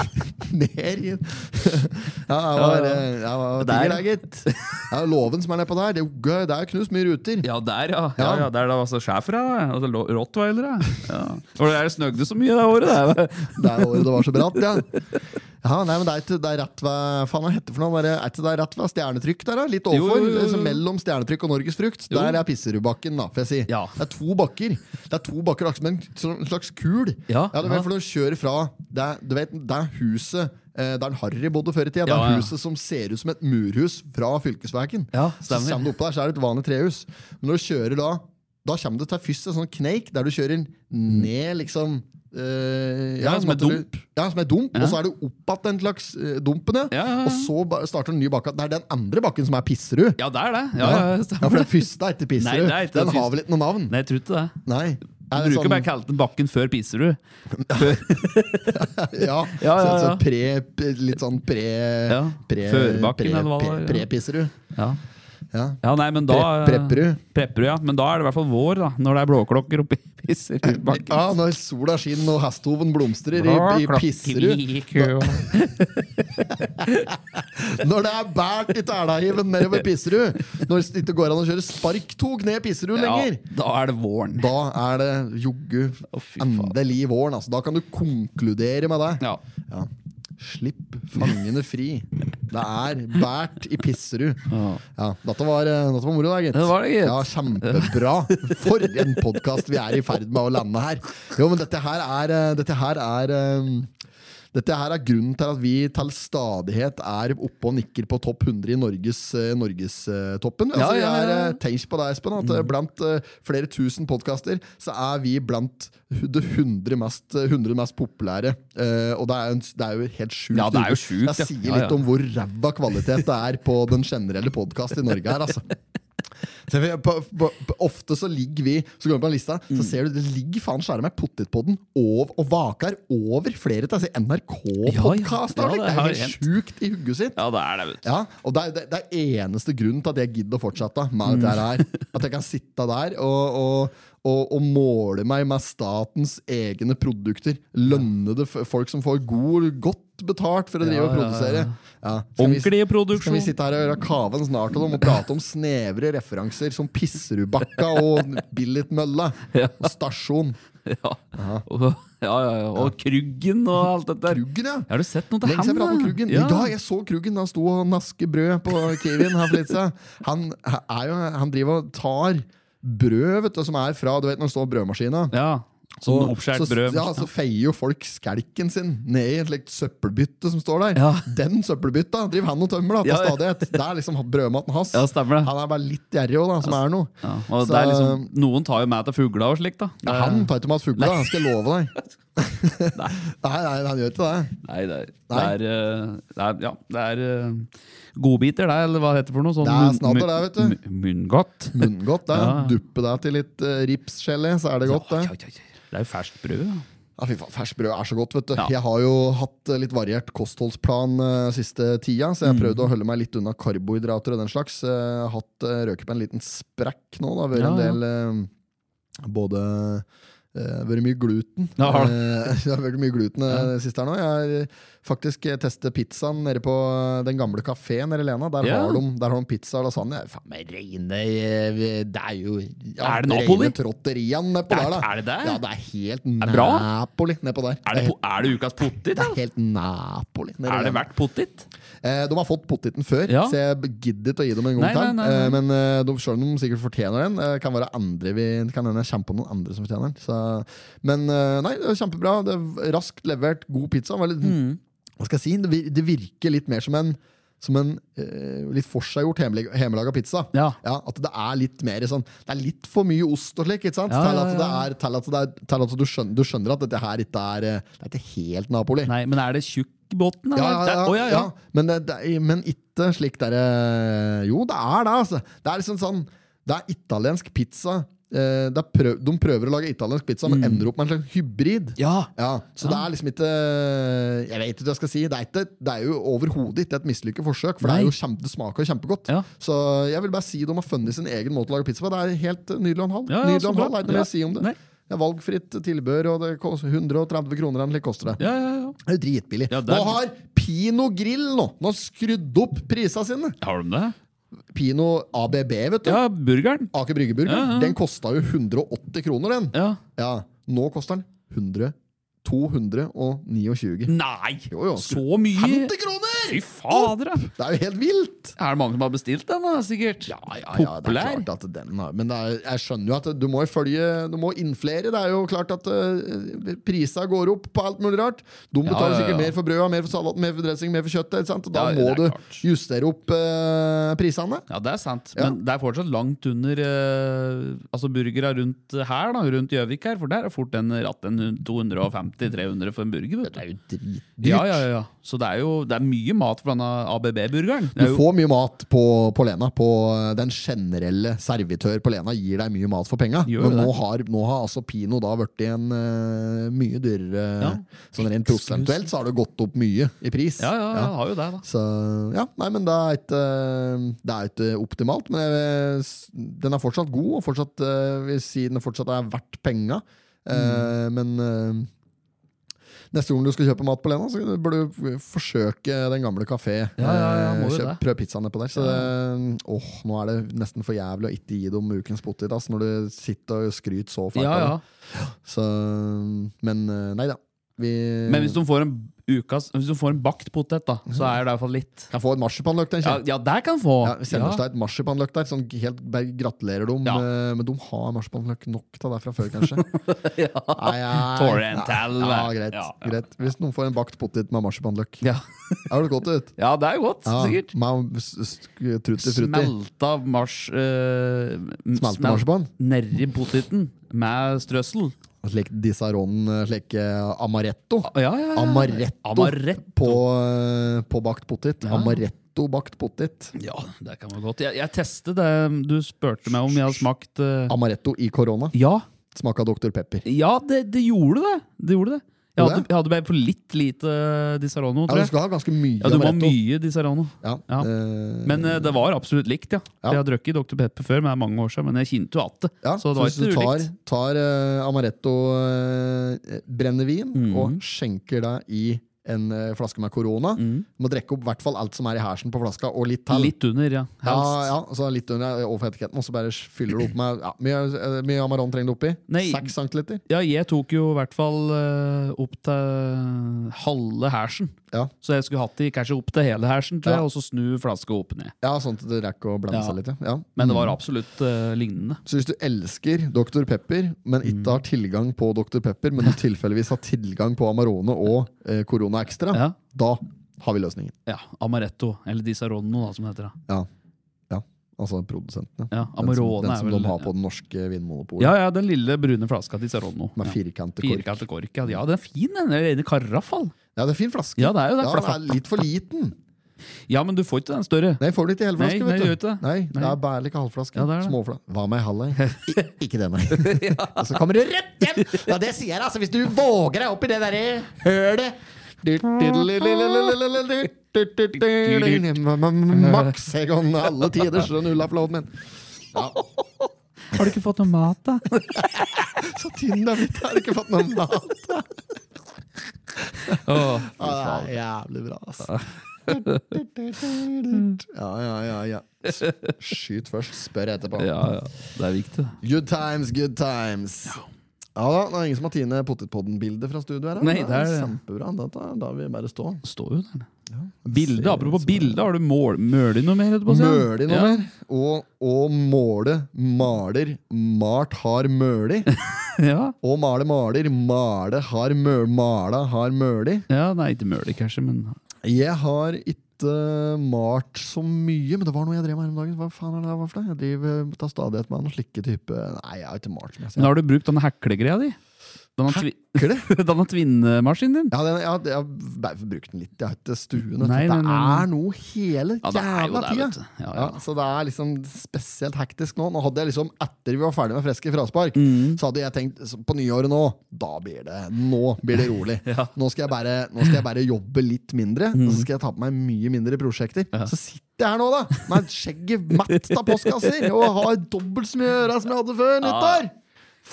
S2: Ned i Ja, det var, eh, det var
S1: Der.
S2: digger, det, gitt. Det er jo låven som er nedpå der. Det er jo gøy. Det er jo knust mye ruter.
S1: Ja, der, ja. ja,
S2: Ja.
S1: ja der det var så schæfere. Altså, lo- rottweilere. Ja. Og der det snøgde så mye det året. Der.
S2: Det er året det var så bratt, ja. Ja, nei, men Det er, ikke, det er rett ved faen hva heter det for noe, bare, er ikke det rett ved stjernetrykk der, da? Litt
S1: Jo,
S2: overfor.
S1: jo, jo, jo.
S2: altså Mellom stjernetrykk og Norges frukt.
S1: Jo.
S2: Der er Pisserudbakken, da, får jeg si.
S1: Ja.
S2: Det er to bakker. Det er to bakker akkurat som en sl- en slags kul.
S1: Ja,
S2: du vet,
S1: ja.
S2: For når du kjører fra det, er- du vet, det er huset eh, der Harry bodde før i tida. Det
S1: Ja,
S2: er
S1: ja.
S2: huset som ser ut som et murhus fra fylkesvegen.
S1: Ja,
S2: så
S1: stemmer.
S2: kommer du oppå der, så er det et vanlig trehus. Men når du kjører da, da kommer du til først en sånn kneik der du kjører ned, liksom eh,
S1: Ja, som
S2: på en
S1: et
S2: måte du- Ja, som er dump, og så er det opp igjen den slags eh, dumpen, ja.
S1: Ja, ja, ja.
S2: Og så ba- starter en ny bakke. Det er den andre bakken som er Pisserud.
S1: Ja, der det. Ja, ja,
S2: Ja,
S1: stemmer.
S2: for den første er ikke Pisserud.
S1: Nei, det er ikke
S2: den
S1: den
S2: har
S1: første.
S2: vel ikke noe navn?
S1: Nei, jeg tror ikke det.
S2: Nei.
S1: Du
S2: Er det
S1: bruker
S2: sånn-
S1: bare kalt den Bakken før Piserud.
S2: ja,
S1: Ja, ja,
S2: Så,
S1: ja.
S2: så pre, p- litt sånn pre...
S1: Ja,
S2: pre
S1: Førbakken,
S2: pre,
S1: eller hva det
S2: pre,
S1: var, ja.
S2: Pre-Pisserud.
S1: Ja.
S2: Ja.
S1: ja, nei, men da eh,
S2: Pre- Prepperud.
S1: Prepperud, ja. Men da er det i hvert fall vår, da. Når det er blåklokker oppi Piserudbakken.
S2: ja, Ah, når sola skinner og hestehoven blomstrer i, i Pisserud. Når det er bært i Tælahiven nedover Pisserud. Når det ikke går an å kjøre sparktog ned Pisserud
S1: Ja,
S2: lenger.
S1: da er det våren.
S2: Da er det joggu
S1: Å, fy faen.
S2: endelig våren. Altså. Da kan du konkludere med det.
S1: Ja.
S2: Ja. Slipp fangene fri. Det er bært i Pisserud.
S1: Ja.
S2: Ja, dette, var, eh, dette var moro, da, gitt.
S1: Det var det, gitt.
S2: Ja, Kjempebra. For en podkast vi er i ferd med å lande her. Jo, men dette her er, eh, dette her er eh, dette her er grunnen til at vi til stadighet er oppe og nikker på topp 100 i Norgestoppen. Norges, eh, toppen.
S1: Ja,
S2: altså,
S1: ja,
S2: jeg
S1: ja, Mm.
S2: er,
S1: ja.
S2: eh, Tenk på det, Espen, at eh, blant eh, flere tusen podkaster så er vi blant hu- det 100 mest, 100 mest populære. Eh, og det er, jo en, det er jo helt sjukt.
S1: Ja, det er jo sjukt,
S2: Det
S1: ja.
S2: sier
S1: Ja, ja.
S2: litt om hvor ræva kvalitet det er på den generelle podkast i Norge her, altså. Så vi, på, på, på, ofte så ligger vi Så går vi på en lista, så ser du det ligger faen skjære meg potetpodden og, og vaker over flere til NRK-podkaster!
S1: Ja, ja. Ja, det
S2: det, er
S1: har
S2: jo
S1: hendt.
S2: helt sjukt i hugget sitt.
S1: ja, det er det, vet du.
S2: Ja, og det er, det, det er eneste grunnen til at jeg gidder å fortsette med dette her.
S1: Mm.
S2: At jeg kan sitte der og, og, og, og måle meg med statens egne produkter. Lønnede f- folk som får god, godt betalt for å drive og
S1: ja, ja.
S2: produsere. Ja. Skal vi-
S1: Ordentlig
S2: skal
S1: produksjon.
S2: vi sitte her og gjøre kaven snart om og prate om snevre referanser som Pisserudbakka og Billitmølla og stasjon?
S1: Ja. Og, ja, ja, ja. og Kruggen og alt dette der.
S2: Kruggen, ja!
S1: Har du sett noe til
S2: Lenge siden jeg pratet om
S1: da?
S2: Kruggen.
S1: Ja.
S2: I dag jeg så Kruggen da han sto og naske brød på Kiwien her for litt siden. Han, er jo, han driver og tar brød, vet du, som er fra Du vet når det står brødmaskina.
S1: Ja, som
S2: Og
S1: oppskjært
S2: så,
S1: brød.
S2: Ja, så feier jo folk skelken sin ned i et slikt søppelbytte som står der.
S1: Ja.
S2: Den søppelbytta driver han og tømmer da, til
S1: Ja, ja.
S2: stadighet. Det er liksom brødmaten hans.
S1: Ja, stemmer det.
S2: Han er bare litt gjerrig òg, da, som er noe.
S1: Ja, og
S2: Så- um,
S1: det er liksom, noen tar jo med til fugla og slikt, da.
S2: Ja, han tar ikke mat fugla, han skal jeg love deg.
S1: Nei.
S2: Nei, nei, han gjør ikke det.
S1: Nei, det er, det
S2: Nei.
S1: er, eh, det er, ja, det er eh, godbiter, det, eller hva det heter for noe? Sånn
S2: Det er snadder, det, vet
S1: du. Munngodt.
S2: Munngodt, det.
S1: Ja.
S2: Duppe deg til litt eh, ripsgelé, så er det godt, det.
S1: Ja, ja, ja. Det er jo ferskt brød. Ja.
S2: Ja, fy faen, Ferskt brød er så godt. vet du
S1: Ja.
S2: Jeg har jo hatt eh, litt variert kostholdsplan eh, siste tida, så
S1: Mm.
S2: jeg har prøvd å holde meg litt unna karbohydrater og den slags. Eh, Jeg har hatt eh, røket på en liten sprekk nå. Det har vært
S1: Ja,
S2: en
S1: ja.
S2: del eh, både eh, vært mye gluten.
S1: Ja, har det.
S2: Eh, det har vært mye gluten eh, det siste her nå. Jeg har eh, faktisk eh, testet pizzaen nede på eh, den gamle kafeen nede i Lena. Der,
S1: Ja.
S2: har de, der har de pizza og lasagne. Faen meg reine eh, Det er jo ja,
S1: Er det Napoli?
S2: reine trotterian nedpå
S1: Er-
S2: der, da.
S1: er det det?
S2: Ja, det er helt
S1: det bra?
S2: Napoli nedpå der.
S1: Er det, po- er det ukas pottit?
S2: Det er
S1: da?
S2: helt Napoli. nede i
S1: Er det
S2: landet.
S1: verdt pottit?
S2: Eh, de har fått pottiten før,
S1: Ja.
S2: så jeg gidder ikke å gi dem en gang
S1: Nei,
S2: til.
S1: nei, nei,
S2: Eh, men eh, de, selv om de sikkert fortjener den, eh, kan være andre vi kan hende jeg kommer på noen andre som fortjener den. Så, men eh, nei, det er kjempebra. Det er raskt levert, god pizza. Var litt,
S1: Mm.
S2: Hva skal jeg si? Det, vir- det virker litt mer som en som en eh, litt forseggjort hjemmelag- hjemmelaga pizza.
S1: Ja.
S2: At det er litt mer sånn Det er litt for mye ost og slik. Ikke sant?
S1: Ja,
S2: til,
S1: ja,
S2: at det
S1: ja.
S2: er, til at, det er, til at du, skjønner, du skjønner at dette her ikke er eh, Det er ikke helt Napoli.
S1: Nei, men er det tjukkbåten?
S2: Ja,
S1: eller?
S2: ja,
S1: Det
S2: ja,
S1: er- Å, ja, ja.
S2: Men, eh, det, det, er- men ikke eh, slik derre Jo, det er det, altså. Det er liksom sånn Det er italiensk pizza eh, det er prøv, De prøver å lage italiensk pizza,
S1: Mm.
S2: men ender opp med en slags hybrid.
S4: Ja.
S2: Ja, så det er liksom ikke Jeg vet ikke hva jeg skal si. Det er, ikke, det er jo overhodet ikke et mislykket forsøk, for det, er jo kjempe, det smaker jo kjempegodt.
S1: Ja.
S2: Så jeg vil bare si de har funnet sin egen måte å lage pizza på. Det er helt nydelig og en halv.
S1: Ja, ja,
S2: Nydelig og en
S1: så
S2: halv,
S1: bra.
S2: er ikke noe mer
S1: Ja.
S2: å si om det.
S1: Nei.
S2: Det er valgfritt tilbør, og det koster 130 kroner eller hva koster det.
S1: Ja, ja, ja.
S2: Det er jo dritbillig.
S1: Ja, det er-
S2: Nå har Pino Grill nå, nå har skrudd opp prisene sine!
S1: Har de det?
S2: Pino ABB, vet du.
S1: Ja, burgeren.
S2: Aker Bryggeburger.
S1: Ja, ja.
S2: Den kosta jo 180 kroner, den.
S1: Ja.
S2: Ja, Nå koster den 100 229.
S1: Nei!
S2: Jo, jo.
S1: Så mye!
S2: 50 kroner!
S1: Fy fader, da!
S2: Det er jo helt vilt!
S1: Er det mange som har bestilt den, da, sikkert? Ja,
S2: det er klart at den har Men det er, jeg skjønner jo at du må jo følge Du må innflere. Det er jo klart at uh, prisa går opp på alt mulig rart. De betaler
S1: ja, ja.
S2: sikkert mer for brøda, mer for salaten, mer for dressing, mer for kjøttet. Ikke sant? Og Da
S1: Ja,
S2: må
S1: det er
S2: du
S1: klart.
S2: justere opp uh, prisene.
S1: Ja, det er sant. Men det er fortsatt langt under eh, Altså burgera rundt her, da, rundt Gjøvik her. For der er fort en ratt en 250-300 for en burger. Vet du. Det er jo dritdyrt. Ja, ja, ja. Så det er jo det er mye mat for denne ABB-burgeren. Det
S2: Du
S1: er jo-
S2: får mye mat på, på Lena. På eh, den generelle servitør på Lena gir deg mye mat for penga.
S1: Gjør
S2: Men
S1: det.
S2: nå har, nå har altså Pino da blitt en eh, mye dyrere
S1: Ja.
S2: Sånn rent prosentuelt så har det gått opp mye i pris.
S1: Ja, ja, ja, har jo det, da.
S2: Så ja, nei, men det er ikke, eh, det er ikke optimalt. Men jeg, den er fortsatt god, og fortsatt, eh, vil si den fortsatt er verdt penga. Eh,
S1: Mm.
S2: Men eh, neste gang du skal kjøpe mat på Lena, så bør du forsøke den gamle kafé.
S1: Ja, ja, ja, må
S2: Eh,
S1: jo
S2: kjøp-
S1: det.
S2: Prøv pizzaen nedpå der. Så det, åh, nå er det nesten for jævlig å ikke gi dem ukens potet ass, når du sitter og skryter så fælt.
S1: Ja,
S2: av
S1: ja.
S2: det. Så, men eh, nei da. Vi
S1: Men hvis du får en ukas Hvis du får en bakt potet, da, så er det i hvert fall litt.
S2: kan få en marsipanløk, tenker jeg.
S1: Ja, ja der kan få.
S2: Ja, vi sender oss deg et marsipanløk der. Sånn helt bare gratulerer dem.
S1: Ja.
S2: eh, Men de har marsipanløk nok til det fra før, kanskje. Nei, nei.
S1: Torrental,
S2: Ja,
S1: vel.
S2: greit,
S1: Ja, ja.
S2: greit. Hvis noen får en bakt potet med marsipanløk.
S1: Ja.
S2: Er det godt ut?
S1: ja, det er jo godt, sikkert.
S2: Med s- s- trutti, frutti.
S1: Smelta mars... Uh,
S2: Smelte marsipan?
S1: Nedi poteten med strøssel.
S2: Slik disaron, eh, slik eh, amaretto.
S1: Ja, ja, ja.
S2: Amaretto,
S1: Ah. Amaretto.
S2: På, eh, på bakt potet. Amaretto bakt potet.
S1: Ja, det kan være godt. Jeg, jeg testet det du spurte meg om jeg hadde smakt. eh,
S2: Amaretto i korona.
S1: ja,
S2: Smaka Dr. Pepper.
S1: ja det, det gjorde det. Det gjorde det. Jeg
S2: Gjorde
S1: hadde,
S2: det?
S1: jeg hadde bare for litt lite Disarano,
S2: Ja, du
S1: tror jeg.
S2: skal ha ganske mye
S1: Ja, du må ha
S2: amaretto.
S1: mye Disarano.
S2: Ja,
S1: Ja.
S2: eh,
S1: Men eh, det var absolutt likt, ja.
S2: Ja.
S1: Jeg har drukket Dr. Pepper før, men det er mange år siden. Men jeg kjente jo at det.
S2: Ja,
S1: så det var
S2: hvis du
S1: ikke
S2: tar,
S1: ulikt.
S2: tar eh, amaretto eh, brennevin
S1: Mm.
S2: og skjenker deg i en eh, flaske med korona, må drikke opp i hvert fall alt som er i hersen på flaska, og litt til.
S1: Mm. Litt under, ja.
S2: ja,
S1: Helst.
S2: ja, så litt under eh, overfor etiketten, og så bare fyller du opp med ja, mye, eh, mye Amaron trenger du oppi?
S1: Nei.
S2: Seks centiliter?
S1: Ja, jeg tok jo i hvert fall eh, opp til halve hersen.
S2: Ja.
S1: Så jeg skulle hatt de kanskje opp til hele hersen, tror
S2: Ja.
S1: jeg, og så snu flaska opp ned.
S2: Ja, sånn at det rekker å blande
S1: Ja.
S2: seg litt. ja. Ja.
S1: Men det var absolutt eh, lignende.
S2: Så hvis du elsker Dr. Pepper, men
S1: Mm.
S2: ikke har tilgang på Dr. Pepper, men du tilfeldigvis har tilgang på Amarone og eh, Corona Extra,
S1: Ja.
S2: da har vi løsningen.
S1: Ja, Amaretto, eller Disaronno, da, som det heter. Da.
S2: Ja. ja. Altså produsentene.
S1: Ja,
S2: Den som,
S1: Amarone
S2: den som
S1: er vel
S2: de har på det norske vinmonopolet.
S1: Ja, ja, den lille brune flaska Disaronno.
S2: Med
S1: ja.
S2: firkantet kork.
S1: Firkantet kork. Ja, ja, den er fin, den. Den er rene karaffal.
S2: Ja, det er fin flaske.
S1: Ja, det er jo det.
S2: Ja, den er litt for liten.
S1: Ja, men du får ikke den større.
S2: Nei, får du ikke hele
S1: Nei,
S2: flaske,
S1: nei,
S2: vet
S1: gjør
S2: du.
S1: ikke det.
S2: Nei, det
S1: Nei.
S2: er bare like halvflaske.
S1: Ja, det er det.
S2: Småfla. Hva med halv, ei? Ik- Ikke denne. Og så kommer du rett hjem! Ja, det sier jeg, altså. Hvis du våger deg opp i det derre hølet Du- du- du- du- du- du- du- du- du- du- du- du- du- Max Egon, alle tiders Ullaf Lodman.
S1: Har du ikke fått noe mat, da?
S2: Så tynn er blitt, har ikke fått noe mat.
S1: Åh,
S2: Ja, det er jævlig bra, altså. Ja, ja, ja, ja. S- Skyt først, spør etterpå.
S1: ja, ja. Det er viktig, det.
S2: Good times, good times. Ja da, Det er ingen som har Tine Potetpodden-bildet fra studio her. da.
S1: Nei, det er-
S2: Kjempebra. Da, da, da vil jeg bare stå.
S1: Står jo der. Bilde, apropos bilde, har du mål, møler noe mer? etterpå, sier han?
S2: Møli noe
S1: Ja.
S2: mer. Og, og måle maler. Mart har møli.
S1: Ja.
S2: Og male maler. Male har møl. Mala har møli.
S1: ja, nei, ikke møler kanskje, men
S2: Jeg har ikke eh, malt så mye, men det var noe jeg drev med her om dagen. Hva faen er det eh, her for noe? Jeg driver tar stadighet med noen slike type Nei, jeg har ikke malt så mye. altså.
S1: Men har du brukt denne heklegreia di? Den har, tvi
S2: Kødder du?
S1: den har tvinnemaskinen din.
S2: Ja, den, ja, jeg har bare brukt den litt. Jeg har ikke stuen. vet du.
S1: Nei, nei,
S2: Det
S1: nei, nei.
S2: er noe hele
S1: Ja, det er jo
S2: jævla
S1: det,
S2: tida.
S1: vet du. Ja,
S2: Ja,
S1: ja.
S2: så det er liksom spesielt hektisk nå. Nå hadde jeg liksom, Etter vi var ferdig med Freske fraspark,
S1: Mm.
S2: så hadde jeg tenkt så på nyåret nå da blir det, nå blir det rolig. nå, skal jeg bare, nå skal jeg bare jobbe litt mindre,
S1: Mm.
S2: og så skal jeg ta på meg mye mindre prosjekter. Så sitter jeg her nå, da, med skjegget matt av postkasser, og har dobbelt så mye å gjøre som jeg hadde før nyttår!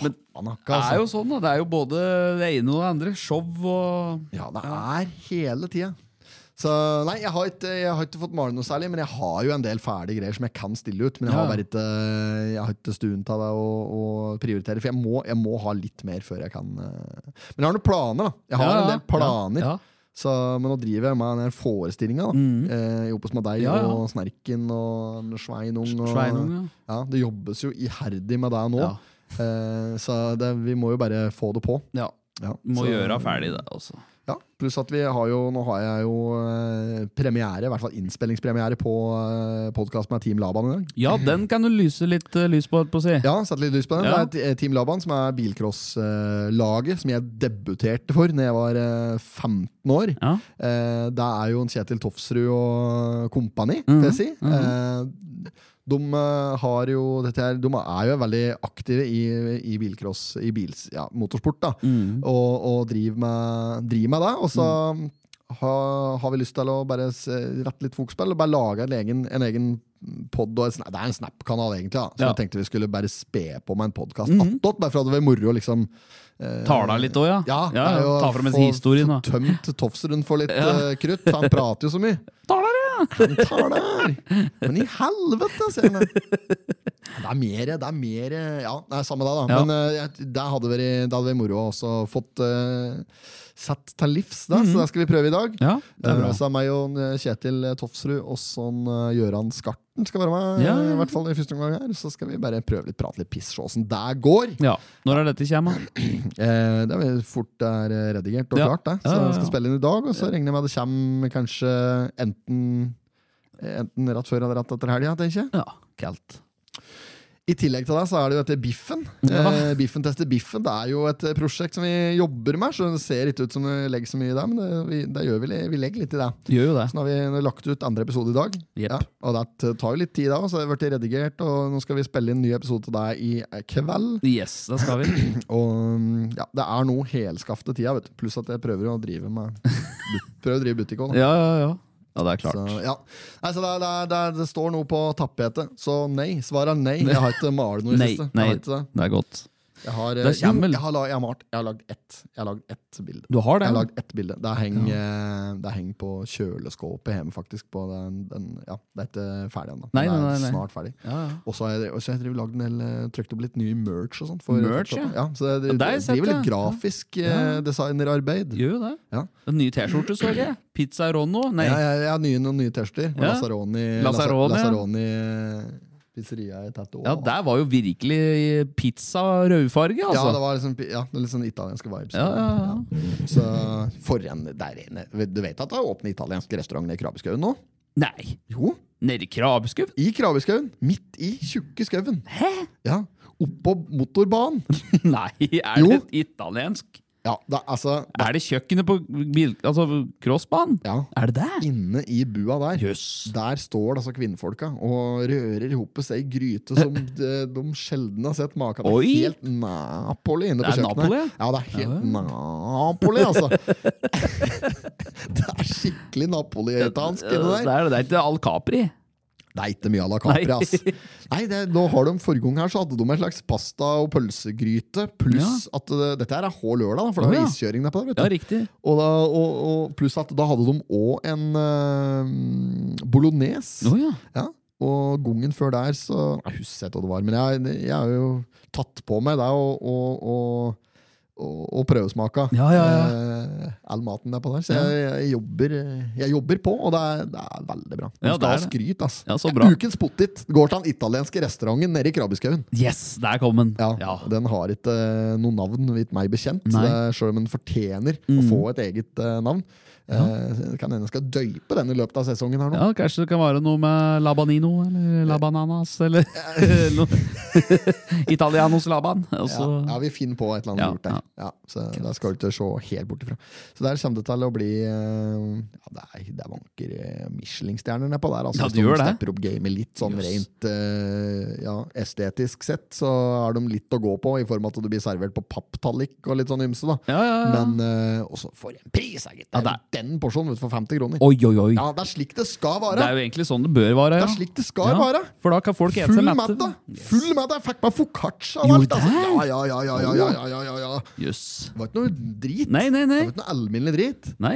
S1: Men
S2: Faen, akka,
S1: det
S2: altså.
S1: er jo sånn, da. Det er jo både det ene og det andre. Show og
S2: Ja, det er hele tida. Så nei, jeg har, ikke, jeg har ikke fått male noe særlig, men jeg har jo en del ferdige greier som jeg kan stille ut. Men jeg har
S1: Ja.
S2: bare ikke, jeg har ikke stuen til det å, å prioritere, for jeg må, jeg må ha litt mer før jeg kan eh. Men jeg har noen planer, da. Jeg har
S1: Ja,
S2: en
S1: ja.
S2: del planer.
S1: Ja, ja.
S2: Så, men nå driver jeg med den her forestillinga, da. Eh, Jobbes med deg
S1: Mm. Ja, ja.
S2: og Snerken og Sveinung. Og,
S1: Sveinung, ja.
S2: Det jobbes jo iherdig med deg nå.
S1: Ja.
S2: Eh, så det, vi må jo bare få det på.
S1: ja.
S2: Ja,
S1: Må
S2: så-
S1: gjøre ferdig det altså. også.
S2: ja, pluss at vi har jo, nå har jeg jo eh, premiere, i hvert fall innspillingspremiere på eh, podkast med Team Laban i dag.
S1: Ja, den kan du lyse litt eh, lys på, holdt på å si.
S2: Ja, satt litt lyst på den.
S1: Ja.
S2: Det er T- Team Laban som er bilcross-laget som jeg debuterte for når jeg var eh, 15 år.
S1: Ja.
S2: Eh, det er jo en Kjetil Tofsrud og kompani, vil jeg si. Eh, de eh, har jo dette her, De er jo veldig aktive i, i bilcross, i bils, ja, motorsport, da.
S1: Mm.
S2: Og, og driver med, driver med det. Og så har, har vi lyst til å bare s- rette litt fokus på det, og bare lage en egen, en egen pod og en sna- Det er en Snap-kanal, egentlig, da. så
S1: Ja. Mhm.
S2: jeg tenkte vi skulle bare spe på med en podkast attåt, bare for at det var moro, liksom. eh,
S1: Tala litt òg, ja.
S2: ja,
S1: Ah. ja,
S2: det er jo
S1: Ta fram en
S2: få-
S1: historie, da.
S2: få Tømt Tofsrud for litt eh, krutt. for Han prater jo så mye.
S1: Taler, ja!
S2: Han tar det her! Men i helvete, sier han. Det er mer, det er mer Ja, det er samme det, da.
S1: Ja.
S2: Men eh, jeg, det hadde vært, det hadde vært moro å også fått eh, satt til livs, da. så det skal vi prøve i dag.
S1: Ja, Mhm. det er bra.
S2: Eh, Så er meg og eh, Kjetil Tofsrud og sånn eh, Gøran Skarten skal være med.
S1: Ja, ja, ja.
S2: I hvert fall i første omgang her. Så skal vi bare prøve litt, prate litt piss, se åssen det går.
S1: Ja, Når er dette kommer?
S2: Eh, det er vel fort det er eh, redigert og
S1: Ja.
S2: klart, det. Så
S1: Ja, ja, ja.
S2: jeg skal spille inn i dag, og så regner jeg med det kommer kanskje enten eh, Enten rett før eller rett etter helga, tenker jeg.
S1: Ja, kaldt.
S2: I tillegg til det så er det jo dette Biffen. Eh, biffen tester biffen. Det er jo et eh, prosjekt som vi jobber med, så det ser ikke ut som vi legger så mye i det, men det, vi, det gjør vi, li- vi legger litt i det.
S1: Gjør jo det.
S2: Så nå har vi nå har vi lagt ut andre episode i dag.
S1: Jep.
S2: Ja, og det t- tar jo litt tid, da, så det har blitt redigert, og nå skal vi spille inn en ny episode til deg i eh, kveld.
S1: Yes, det skal vi.
S2: Og um, ja, det er noe helskafte tida, vet du. Pluss at jeg prøver å drive med but- Prøver å drive butikk òg, da.
S1: Ja, ja, ja. Ja, det er
S2: Så,
S1: klart.
S2: ja. Nei, så det, er- det, er- det, er- det står noe på tapetet, så nei. Svaret er nei. Jeg har ikke malt noe i det
S1: Nei,
S2: siste. Jeg
S1: nei,
S2: har, ikke det.
S1: det er godt.
S2: jeg har, eh,
S1: Det
S2: jo,
S1: kommer-
S2: jeg har, la- jeg har malt Jeg har lagd ett Jeg har lagd ett bilde.
S1: Du har
S2: Jeg
S1: det?
S2: har
S1: ja.
S2: lagd ett bilde. Det henger eh, det henger på kjøleskåpet hjemme, faktisk. På den, den, ja, det er ikke ferdig ennå.
S1: Nei,
S2: Det er
S1: nei, nei, nei.
S2: Snart ferdig.
S1: Ja, ja.
S2: Og så har jeg, og så har jeg drevet og lagd en del, eh, trykt opp litt ny merch og sånn. for-
S1: Merch, ja.
S2: Så jeg driver,
S1: Ja, det har jeg sett,
S2: driver litt
S1: ja.
S2: grafisk eh, designerarbeid.
S1: Gjør jo det.
S2: Ja.
S1: En ny T-skjorte så jeg. Pizza Ronno? Nei.
S2: Jeg, jeg, jeg har nye, noen nye T-skjorter. med
S1: Ja.
S2: Lazzaroni,
S1: Lazzaroni, ja.
S2: Lazzaroni eh, pizzeria i Tatto.
S1: Ja, der var jo virkelig pizza rødfarge,
S2: Ja, det
S1: altså.
S2: var liksom, ja, det er litt sånn italienske vibes.
S1: Ja, ja, ja.
S2: Så foran der inne Du vet at det er åpnet italiensk restaurant i Krabbeskauen nå?
S1: Nei,
S2: Jo,
S1: nede i Krabbeskauen?
S2: i Krabbeskauen. Midt i tjukke skauen. Ja, Oppå motorbanen.
S1: Nei, er
S2: Jo.
S1: det italiensk?
S2: Ja, da, altså
S1: Er det kjøkkenet på bil, altså crossbanen?
S2: ja.
S1: Er det det?
S2: Inne i bua der
S1: Jøss.
S2: Der står det altså kvinnfolka og rører ihop seg i gryte som de, de sjelden har sett maken til.
S1: Oi!
S2: Helt Napoli inne på
S1: Det er
S2: kjøkkenet.
S1: Napoli, ja?
S2: Ja, det er helt Napoli, altså. det er skikkelig Napoli-dansk
S1: Det
S2: inni
S1: er
S2: der.
S1: det, det er ikke Al Capri.
S2: Det er ikke mye à la Capri, ass. Nei, det, nå har de Forrige gang her så hadde de en slags pasta- og pølsegryte, pluss at eh, Dette her er H lørdag, da, for det
S1: Å,
S2: er
S1: ja.
S2: iskjøring der på der. vet du.
S1: Ja, riktig.
S2: Og, da, og, og pluss at da hadde de òg en eh, bolognese.
S1: Å ja.
S2: Ja, og gongen før der, så Jeg husker ikke hva det var, men jeg, jeg har jo tatt på meg det og, og, og og, og prøvesmaka
S1: Ja, ja,
S2: Eh, all maten der på der. Så jeg, jeg, jobber, jeg jobber på, og det er, det er veldig bra. Du skal
S1: Ja,
S2: ha
S1: det er
S2: skryt, ass.
S1: Ja, så bra.
S2: Ukens pottit går til den italienske restauranten nede i Krabbeskauen.
S1: Yes, der kom den.
S2: Ja,
S1: Ja.
S2: Den har ikke eh, noe navn, vidt meg bekjent,
S1: Nei. Mm.
S2: Det er- selv om den fortjener å få et eget eh, navn. Eh, Eh, så det kan hende jeg skal døype den i løpet av sesongen. her nå
S1: Ja, Kanskje det kan være noe med labanino eller labananas eller noe. Italianos altså. laban.
S2: ja,
S1: og så-
S2: ja, vi finner på et eller annet
S1: Ja,
S2: lurt der. Ja. så der skal du ikke se helt bort ifra. Så der kommer det til å bli eh, Ja, det, er, det vanker eh, Michelin-stjerner nedpå der. Altså,
S1: Ja,
S2: Hvis
S1: det
S2: de
S1: gjør det.
S2: stepper opp gamet litt sånn rent eh, ja, estetisk sett, så har de litt å gå på, i form av at du blir servert på papptallik og litt sånn ymse, da.
S1: Ja, ja, ja.
S2: Men eh, også for en pris, da, gitt!
S1: Ja,
S2: Det er
S1: det
S2: den porsjonen vet du, for 50 kroner.
S1: Oi, oi, oi.
S2: Ja, det er slik det skal
S1: Det
S2: være!
S1: er jo egentlig sånn det bør være.
S2: Det
S1: Ja.
S2: er slik det skal
S1: Ja,
S2: være.
S1: For da kan folk ete
S2: Full
S1: seg
S2: middag! Full middag! Jeg fikk meg foccaccia og
S1: Jo,
S2: alt! Altså.
S1: der.
S2: Ja, ja, ja, ja, ja, ja, ja, ja, ja.
S1: Jøss.
S2: Det var ikke noe drit.
S1: Nei, nei, nei.
S2: Det var ikke noe alminnelig drit.
S1: Nei,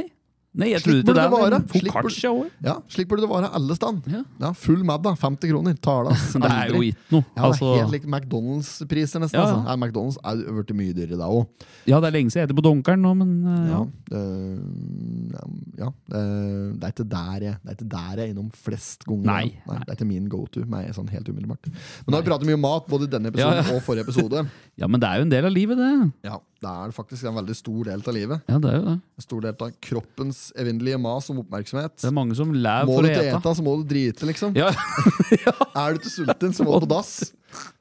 S1: nei jeg
S2: Slik burde
S1: trodde ikke det.
S2: det være.
S1: men
S2: Slik burde-
S1: Focaccia òg.
S2: Ja, Slik burde det være alle steder.
S1: Ja.
S2: Ja. full middag, 50 kroner. Tales.
S1: Det er jo ikke noe.
S2: Ja, det
S1: altså.
S2: er helt like McDonald's-priser, nesten.
S1: Ja, ja.
S2: Altså. Nei, McDonald's er jo blitt mye dyrere, det òg.
S1: ja, det er lenge siden jeg heter på Donkeren nå, men eh,
S2: Ja.
S1: ja.
S2: det- ja. Eh, det- Det er ikke der jeg Det er ikke der jeg er innom flest ganger.
S1: Nei,
S2: Nei, Det er ikke min go to. Meg, sånn helt umiddelbart Men nå har vi pratet mye om mat, både i denne episoden
S1: Ja, ja.
S2: og forrige episode.
S1: ja, men det er jo en del av livet, det.
S2: Ja, Det er faktisk en veldig stor del av livet.
S1: Ja, det er jo det.
S2: En stor del av kroppens evinnelige mas om oppmerksomhet.
S1: Det er mange som lever
S2: Må
S1: for
S2: du
S1: å
S2: ikke
S1: ete.
S2: ete, så må du drite, liksom.
S1: Ja.
S2: Er du ikke sulten, så må du på dass.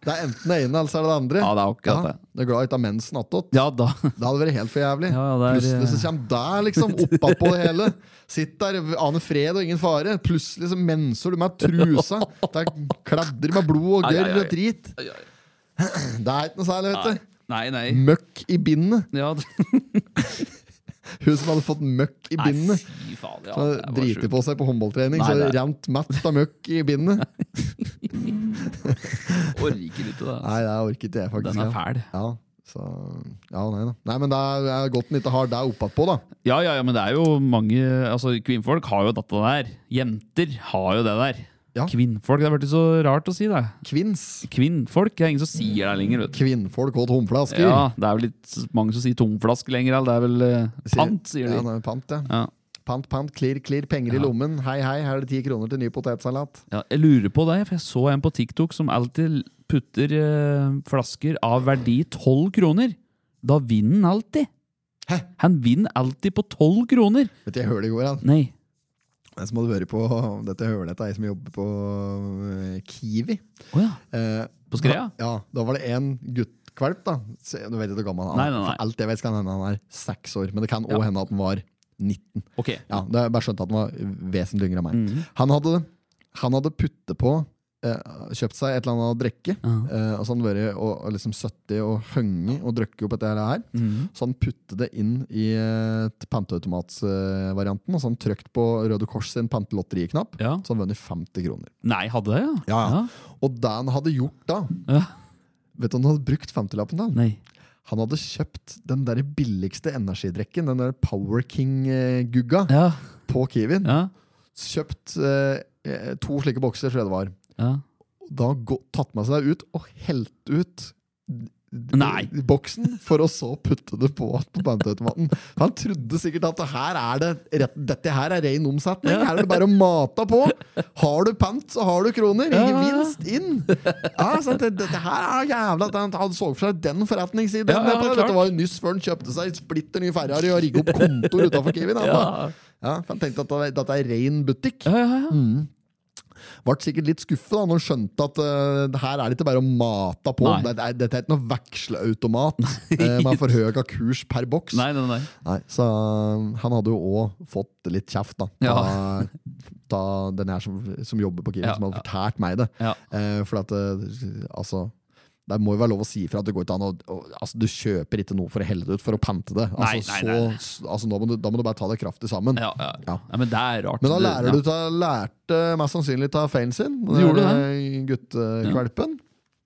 S2: Det er enten det ene eller så er det det andre.
S1: ja, det er akkurat det.
S2: Du er glad ikke har mensen attåt.
S1: Ja da.
S2: Det hadde vært helt for jævlig.
S1: Ja, ja, det er- eh,
S2: Plutselig så kommer der, liksom. Oppapå det hele. Sitt der, ane fred og ingen fare. Plutselig så menser du med trusa. Der kladder med blod og
S1: Ai, ai,
S2: gørr
S1: ai.
S2: og drit.
S1: Ai, ai.
S2: Det er ikke noe særlig, vet du.
S1: Nei, nei.
S2: Mm. Møkk i bindet.
S1: Ja, det-
S2: Hun som hadde fått møkk i
S1: nei,
S2: bindet.
S1: fy faen. Ja,
S2: Ja,
S1: det var
S2: driter
S1: sjukt.
S2: på seg på håndballtrening,
S1: Nei,
S2: så
S1: det
S2: det
S1: er-
S2: rent mett av møkk i bindet.
S1: Orker ikke det.
S2: Nei, det orker ikke jeg, faktisk.
S1: Den er
S2: ja.
S1: fæl.
S2: Ja, så, ja, nei da. Nei, men det er, det er godt den ikke har deg oppatpå, da.
S1: Ja, ja, ja, men det er jo mange Altså, kvinnfolk har jo dette der. Jenter har jo det der.
S2: Ja.
S1: Kvinnfolk, det har blitt så rart å si det.
S2: Kvinns.
S1: Kvinnfolk, det er ingen som sier det lenger, vet du.
S2: Kvinnfolk åt humflasker.
S1: Ja, det er vel litt mange som sier tomflaske lenger, eller det er vel eh, pant, sier
S2: Ja,
S1: de.
S2: nei, pant, ja.
S1: Ja.
S2: Pant, pant, klirr, klirr, penger i lommen. Hei, hei, her er det ti kroner til ny potetsalat.
S1: Ja, jeg lurer på det, for jeg så en på TikTok som alltid putter eh, flasker av verdi 12 kroner. Da vinner han alltid. Han vinner alltid på 12 kroner.
S2: Vet du, jeg hørte i går, han.
S1: Nei.
S2: Jeg som hadde vært på dette hølet til ei som jobber på eh, Kiwi.
S1: Å ja.
S2: Eh,
S1: På Skrea?
S2: Da, ja, da var det en guttkvalp, da. Se, Du vet ikke hvor gammel han
S1: Nei,
S2: er.
S1: nei, nei.
S2: For alt jeg vet, kan hende han er seks år, men det kan òg
S1: Ja.
S2: hende at han var 19.
S1: Ok.
S2: Ja, det er bare skjønt at han var vesentlig yngre enn meg.
S1: Mhm.
S2: Han hadde, han hadde puttet på eh, Kjøpt seg et eller annet å drikke. eh, og så hadde han vært og, og liksom 70 og hengt og drukket opp dette her.
S1: mhm.
S2: Så han puttet det inn i eh, panteautomatvarianten. og så han trykt på Røde Kors sin pantelotteriknapp.
S1: Ja.
S2: Så han vunnet 50 kroner.
S1: Nei, hadde det, ja?
S2: Og det han hadde gjort da
S1: Ja.
S2: Vet du om han hadde brukt 50-lappen da?
S1: Nei.
S2: Han hadde kjøpt den der billigste energidrekken, den der Power King-gugga,
S1: Ja.
S2: på Kiwin
S1: Ja.
S2: kjøpt eh, to slike bokser, tror jeg det var.
S1: ja.
S2: Da gå, tatt med seg ut og helt ut d- d-
S1: Nei.
S2: boksen, for å så putte det på på bandeautomaten. Han trodde sikkert at det her er det, rett, dette her er ren omsetning. Her er det bare å mate på. Har du pant, så har du kroner. Ingen
S1: Ja, ja, ja.
S2: vinst inn. Ja, sant? Det, dette her er jævla at Han han så for seg den forretningssiden.
S1: Ja, ja,
S2: nedpå der.
S1: klart.
S2: dette var jo nyss før han kjøpte seg splitter ny Ferrari og rigget opp kontor utafor Kiwin. han, da.
S1: Ja.
S2: Ja, for han tenkte at det- dette er ren butikk.
S1: Ja, ja, ja.
S2: Mm. Ble sikkert litt skuffet da når han skjønte at eh, det her er det ikke bare å mate på.
S1: Nei.
S2: Dette er, dette er ikke noe veksleautomat eh, med for høy kurs per boks.
S1: Nei, nei, nei.
S2: Nei, så eh, han hadde jo òg fått litt kjeft, da.
S1: Ja.
S2: Da- Da den her som, som jobber på Kiwi,
S1: Ja,
S2: som hadde
S1: ja.
S2: fortalt meg det.
S1: Ja.
S2: Eh, for at eh, altså det må jo være lov å si ifra at det går ikke an å å- altså, Du kjøper ikke noe for å helle det ut, for å pante det.
S1: Nei,
S2: Altså,
S1: nei, nei, nei.
S2: Så, altså, nå må du, da må du bare ta det kraftig sammen.
S1: Ja, ja.
S2: Ja.
S1: Nei, men det er rart.
S2: Men da
S1: Det-
S2: lærer
S1: ja.
S2: du ta, lærte mest sannsynlig ta feilen sin.
S1: Du gjorde det.
S2: der Guttekvalpen.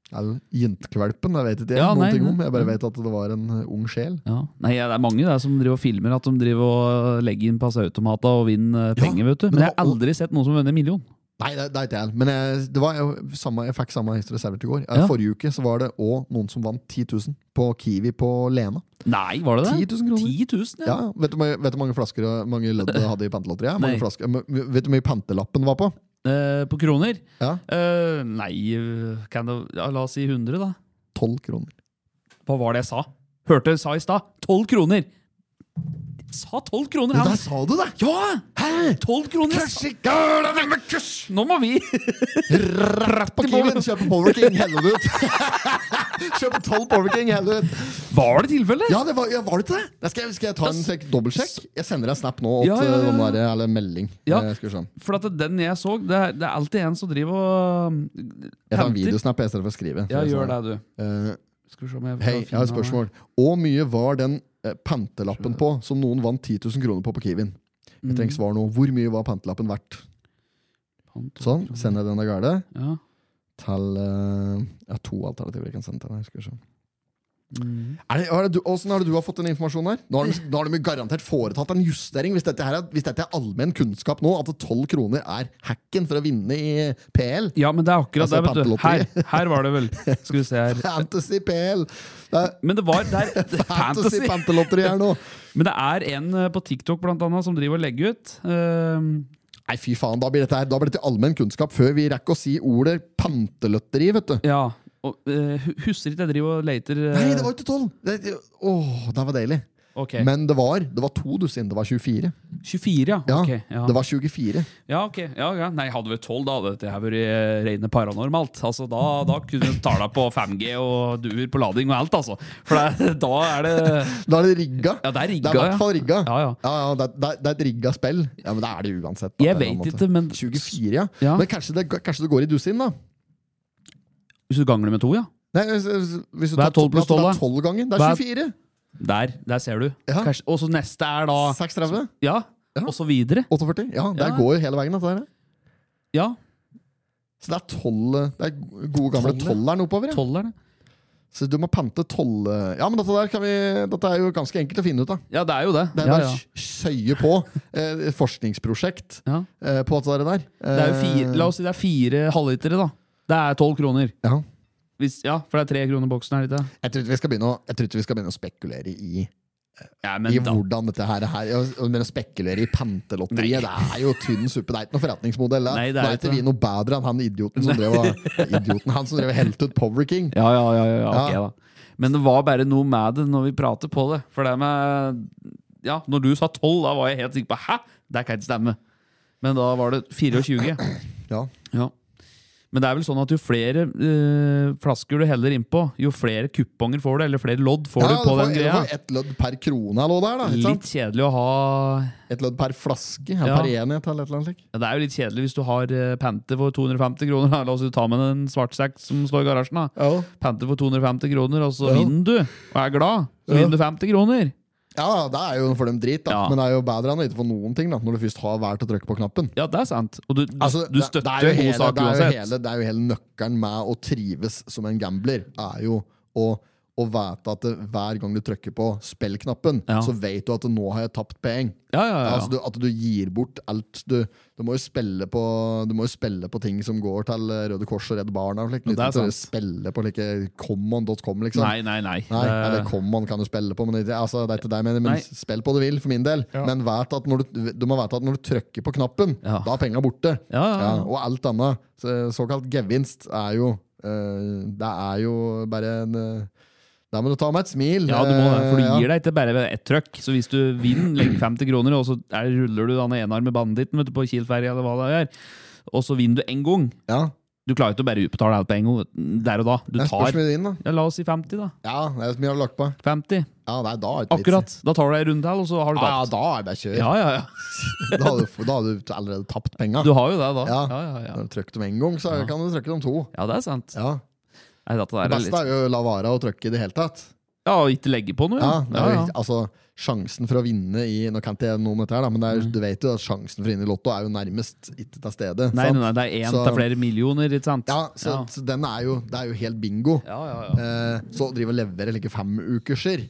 S2: Eller jentekvalpen, jeg vet ikke jeg,
S1: Ja,
S2: noen
S1: nei,
S2: ting om.
S1: nei.
S2: Jeg bare vet at det var en eh, ung sjel.
S1: Ja. Nei, ja, det er mange der som driver og filmer at de driver og legger inn passeautomater og vinner eh, penger, vet du.
S2: men
S1: Men jeg
S2: hva-
S1: har aldri sett noen som har vunnet en million.
S2: Nei, det, det er ikke jeg. Men jeg, det var jo samme, jeg fikk samme historie servert i går. Eh,
S1: Ja.
S2: Forrige uke så var det òg noen som vant 10 000 på Kiwi på Lena.
S1: Nei, var det det?
S2: 10 000 kroner.
S1: 10 000,
S2: Ja, Vet du hvor mange- vet du hvor mange flasker og mange lødd det hadde i pantelotteriet? Mange
S1: Nei.
S2: flasker- eh, men Vet du hvor mye pantelappen var på?
S1: Eh, på kroner?
S2: Ja,
S1: Eh, nei, eh, kan det, ja, la oss si 100, da.
S2: 12 kroner.
S1: Hva var det jeg sa? Hørte jeg sa i stad? 12 kroner! sa tolv kroner!
S2: Men
S1: han.
S2: der sa du det!
S1: Ja!
S2: Hæ?
S1: Tolv kroner! jeg
S2: Kurs
S1: sa-
S2: i gulvet med kurs!
S1: Nå må vi
S2: Rett på Kiwien! Kjøp en Power King, hell det ut! Kjøp tolv Power King, hell det ut!
S1: Var det tilfellet?
S2: Ja, det var, ja, var det ikke det? Da skal, jeg, skal jeg ta en sjekk, dobbeltsjekk? Jeg sender deg en snap nå, åt,
S1: Ja, ja, ja,
S2: eh,
S1: ja.
S2: den der, eller melding.
S1: Ja.
S2: Eh, Skal vi se.
S1: For at den jeg så, det er, det er alltid en som driver og um,
S2: Jeg tar en
S1: henter.
S2: videosnap i stedet for å skrive.
S1: Ja, gjør det, du.
S2: Eh,
S1: Skal vi se om jeg
S2: Hei, jeg har et spørsmål. Hvor mye var den eh, pantelappen på som noen vant 10 000 kroner på på Kiwien? Jeg trenger
S1: Mm.
S2: svar nå. Hvor mye var pantelappen verdt? Sånn, sender jeg den av gårde
S1: Ja.
S2: til eh, Jeg har to alternativer jeg kan sende til deg. Skal vi se. Er det, er det du, hvordan har det du har fått den informasjonen her? Nå har, de, nå har de jo garantert foretatt en justering, hvis dette, her er, hvis dette er allmenn kunnskap nå, at 12 kroner er hacken for å vinne i PL.
S1: ja, men det er akkurat
S2: Altså,
S1: det, vet du. Her,
S2: pantelotteriet.
S1: her var det vel. Skal vi se her.
S2: Fantasy PL! Det er
S1: Men det var der,
S2: fantasy
S1: fantasy.
S2: pantelotteri her nå!
S1: Men det er en eh, på TikTok blant annet som driver og legger ut. Um,
S2: Nei, fy faen, da blir dette her Da blir dette allmenn kunnskap før vi rekker å si ordet panteløtteri, vet du.
S1: ja. Og, eh, hu- husker ikke jeg driver og leter eh,
S2: Nei, det var ikke tolv! Det- det- Åh, det var deilig.
S1: ok.
S2: Men det var det var to dusin. Det var 24.
S1: 24, ja.
S2: Ja,
S1: ok, ja.
S2: Det var 24.
S1: ja, ok. Ja, ja. Nei, hadde vi 12, da hadde dette her vært eh, rene paranormalt. Altså, da, da kunne vi tala på 5G og duer på lading og alt, altså. For det, da er det
S2: Da er det rigga.
S1: Ja, det er
S2: Det
S1: rigga,
S2: er i hvert fall
S1: ja.
S2: rigga.
S1: Ja, ja.
S2: ja, det, er- det, er- det er et rigga spill. Ja, Men det er det uansett. da, på
S1: Jeg
S2: en
S1: vet
S2: eller annen
S1: ikke,
S2: måte.
S1: men
S2: 24, ja.
S1: Ja.
S2: Men kanskje det, kanskje det går i dusin, da?
S1: Hvis du ganger det med to, ja.
S2: Nei, hvis, hvis- hvis du
S1: Hva er
S2: tar
S1: 12 pluss 12
S2: Det
S1: da?
S2: er 12 ganger. Det
S1: Hva
S2: er
S1: er-
S2: 24.
S1: Der, der ser du.
S2: Ja.
S1: Kanskje- Og så neste er da
S2: 36.
S1: Ja,
S2: Ja.
S1: og så videre.
S2: 48. Ja, det
S1: Ah. Ja.
S2: går jo hele veien. Dette her.
S1: Ja,
S2: Så det er 12 Det er gode gamle
S1: Tolv, ja.
S2: tolveren oppover. Ja.
S1: tolv er det.
S2: Så du må pante tolv eh, Ja, men dette, der kan vi, dette er jo ganske enkelt å finne ut av.
S1: Ja, det er jo det.
S2: Det er
S1: ja,
S2: bare
S1: ja.
S2: å søye på eh, forskningsprosjekt
S1: Ja.
S2: eh, på dette der. Eh,
S1: Det er jo fire, la oss si det er fire halvlitere, da. Det er tolv kroner.
S2: Eh, ja.
S1: Hvis, ja, for det er tre kroner boksen her. Ikke?
S2: Jeg tror ikke vi skal begynne å, jeg tror ikke vi skal begynne å spekulere i,
S1: Ja,
S2: i
S1: men da.
S2: hvordan dette her er. Ja, Men å spekulere i pantelotteriet, det er jo tynn suppe. Det er ikke noen forretningsmodell.
S1: Nei, det
S2: det
S1: er
S2: er ikke
S1: ikke
S2: vi noe bedre enn han idioten som drev og- idioten, han som drev og helte ut Power King.
S1: Ja, ja, ja, ja, ok
S2: Ja.
S1: da. Men det var bare noe med det når vi prater på det. For det med Ja, når du sa tolv, da var jeg helt sikker på Hæ? Det kan ikke stemme. Men da var det 24.
S2: Ja.
S1: Ja. Men det er vel sånn at jo flere eh, flasker du heller innpå, jo flere kuponger får du, eller flere lodd får
S2: Ja,
S1: du på
S2: får-
S1: den
S2: du
S1: greia.
S2: får ett lødd per krone eller noe der, da. Ikke sant?
S1: Litt kjedelig å ha
S2: Et lødd per flaske, ja.
S1: Ja.
S2: per enhet eller et eller annet slikt.
S1: ja, Det er jo litt kjedelig hvis du har eh, Panther for 250 kroner. da. La oss jo ta med en svartsekk som står i garasjen. da
S2: Ja.
S1: Panther for 250 kroner, og så
S2: Ja.
S1: vinner du og er glad. Så
S2: Ja.
S1: vinner du 50 kroner.
S2: Ja, det er jo for dem drit, da.
S1: Ja.
S2: Men det er jo bedre enn å ikke få noen ting, da, når du først har valgt å trykke på knappen.
S1: Ja, det er sant. Og du, du,
S2: Altså,
S1: du
S2: det- det er
S1: støtter jo
S2: jo
S1: en
S2: hele-
S1: god sak
S2: det er jo
S1: uansett.
S2: hele- Det er jo hele nøkkelen med å trives som en gambler, er jo å å vite at det, hver gang du trykker på spillknappen,
S1: Ja.
S2: så vet du at nå har jeg tapt penger.
S1: Ja, ja, ja.
S2: Altså, du, at du gir bort alt. Du, du, må jo spille på, du må jo spille på ting som går til eh, Røde Kors og Redd Barna. Og slikt,
S1: Ja, det
S2: uten
S1: er
S2: at du
S1: sant.
S2: spille på like common.com, liksom.
S1: Nei, nei, nei. Eh,
S2: Nei,
S1: Det-
S2: eller Common kan du spille på, men, det- altså, det er ikke det jeg mener, men
S1: Nei.
S2: spill på du vil, for min del. Men vet at når du, du må vite at når du trykker på knappen,
S1: Ja.
S2: da er penga borte.
S1: Ja, ja, ja.
S2: og alt annet. Så, eh, såkalt gevinst er jo eh, Det er jo bare en uh, Der må du ta med et smil.
S1: Ja, du må det, for du
S2: Eh, ja.
S1: gir deg ikke bare ett trøkk. Så hvis du vinner, legger 50 kroner, og så er, ruller du den enarmede banditten vet du, på Kielferja, eller hva det er, og så vinner du én gang
S2: Ja,
S1: Du klarer ikke å bare utbetale alt på en gang der og da. Du
S2: det er
S1: tar
S2: spørsmålet din, da.
S1: ja, La oss si 50, da.
S2: Ja, det er så mye du har lagt på.
S1: 50.
S2: Ja, nei, da er det ikke
S1: Akkurat.
S2: vits i.
S1: Da tar du deg en runde til, og så har du
S2: Ja, ja,
S1: tapt.
S2: da er det bare kjør.
S1: Ja, ja, ja.
S2: Da har du, da har du allerede tapt penga.
S1: Du har jo det, da. Ja,
S2: Ja.
S1: ja, ja.
S2: Når du trykker dem én gang, så kan du trykke dem to.
S1: ja det er sant.
S2: Ja.
S1: Nei, dette
S2: Det
S1: der er
S2: beste
S1: litt
S2: er jo å la være å trykke i det hele tatt.
S1: Ja, og ikke legge på noe.
S2: Ja,
S1: Ja,
S2: det
S1: ja,
S2: er jo,
S1: ja.
S2: ikke- altså Sjansen for å vinne i Nå kan ikke jeg noe om dette, her da men det er, jo- du vet jo at sjansen for å vinne i Lotto er jo nærmest ikke til stede.
S1: Nei,
S2: sant?
S1: nei, nei, det er én
S2: Så-
S1: til flere millioner, ikke sant?
S2: Ja, så,
S1: ja.
S2: så den er jo, det er jo helt bingo.
S1: ja, ja, ja.
S2: Eh, så å drive og levere like femukerser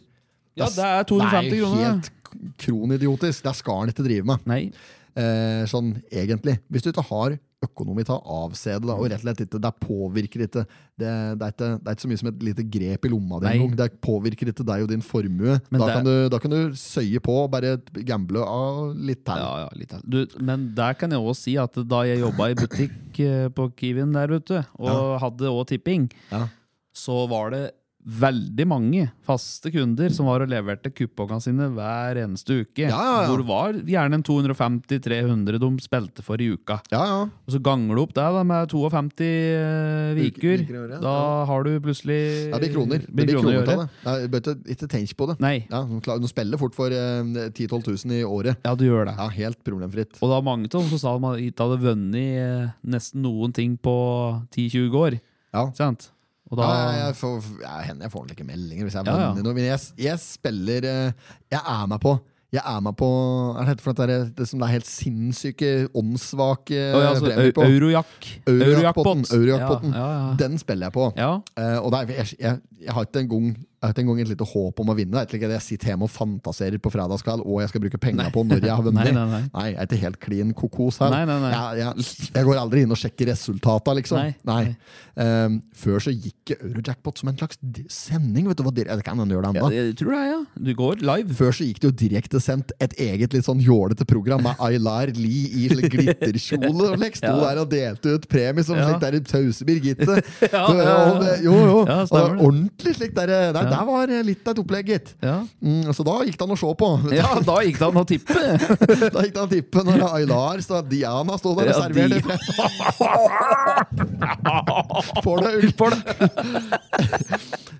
S1: Ja, det er 250
S2: Det er jo
S1: kroner,
S2: helt kronidiotisk. Det skal en ikke drive med.
S1: Nei.
S2: Eh, sånn egentlig. Hvis du ikke har økonomi til å avse det, da, og rett og slett ikke, det påvirker ikke det, det, er ikke det er ikke så mye som et lite grep i lomma di
S1: Nei.
S2: engang. Det påvirker ikke deg og din formue.
S1: Men
S2: Da,
S1: det-
S2: kan du, da kan du søye på og bare gamble av litt til.
S1: Ja, ja, litt av- du, Men der kan jeg også si at da jeg jobba i butikk eh, på Kiwien der ute, og hadde også tipping,
S2: Ja.
S1: så var det veldig mange faste kunder som var og leverte kuppongene sine hver eneste
S2: Ja,
S1: uke.
S2: ja, ja.
S1: Hvor det var gjerne en 250-300 de spilte for i uka.
S2: Ja, ja.
S1: Og så ganger du opp det da, med 52 eh, uker.
S2: Uker i året,
S1: Da har du plutselig
S2: Det blir kroner. Det
S1: blir
S2: blir
S1: kroner
S2: kroner
S1: i
S2: av
S1: året.
S2: det. Ja, jeg bør ikke- ikke tenk på det.
S1: Nei.
S2: Ja, de klarer- de spiller fort for eh, 10 000-12 000 i året.
S1: Ja, du gjør det.
S2: Ja, helt problemfritt.
S1: Og da mange av dem som sa de hadde- ikke hadde vunnet eh, nesten noen ting på 10-20 år.
S2: Ja.
S1: Sant? Og da,
S2: Ja, jeg, jeg får, ja, hender jeg får noen like meldinger hvis jeg
S1: Ja,
S2: er
S1: ja.
S2: venner nå, Men jeg, jeg spiller eh, Jeg er med på Jeg er med på Hva er det for noe det, er- det som det er helt sinnssyke, åndssvake
S1: Å, ja, altså,
S2: premier på?
S1: eu- Eurojack.
S2: Eurojackpotten.
S1: Eurojackpot.
S2: Eurojackpotten.
S1: Ja, ja, ja.
S2: Den spiller jeg på.
S1: ja.
S2: Eh, og det er, jeg, jeg, jeg har ikke engang en gang et lite håp om å vinne. Det er ikke like at Jeg sitter hjemme og fantaserer på fredagskveld og jeg skal bruke penger på når jeg har vunnet.
S1: Nei, nei, nei.
S2: jeg er ikke helt klin kokos her.
S1: Nei, nei, nei.
S2: Jeg, jeg, jeg går aldri inn og sjekker resultata, liksom.
S1: Nei, nei.
S2: Eh, før så gikk Eurojackpot som en slags di- sending. Vet du hva dir- det kan hende gjør det enda.
S1: Jeg tror det er, ja. Du går live.
S2: Før så gikk det jo direktesendt et eget litt sånn jålete program med Aylar Lie i slik glitterkjole. Og like, sto
S1: Ja.
S2: der og delte ut premie som
S1: Ja.
S2: slik der i Tause Birgitte.
S1: Ja, ja, ja.
S2: Og det- Jo, jo.
S1: Ja,
S2: Og
S1: stemmer det.
S2: ordentlig slik der. eh, Der, der var litt av et opplegg, gitt.
S1: Ja.
S2: Mm, så da gikk det an å se på.
S1: ja, da gikk det an å tippe.
S2: Da gikk det an å tippe når Aylar stod, Diana sto der og
S1: Ja,
S2: serverte
S1: de-
S2: frem. Får det ut.
S1: For det.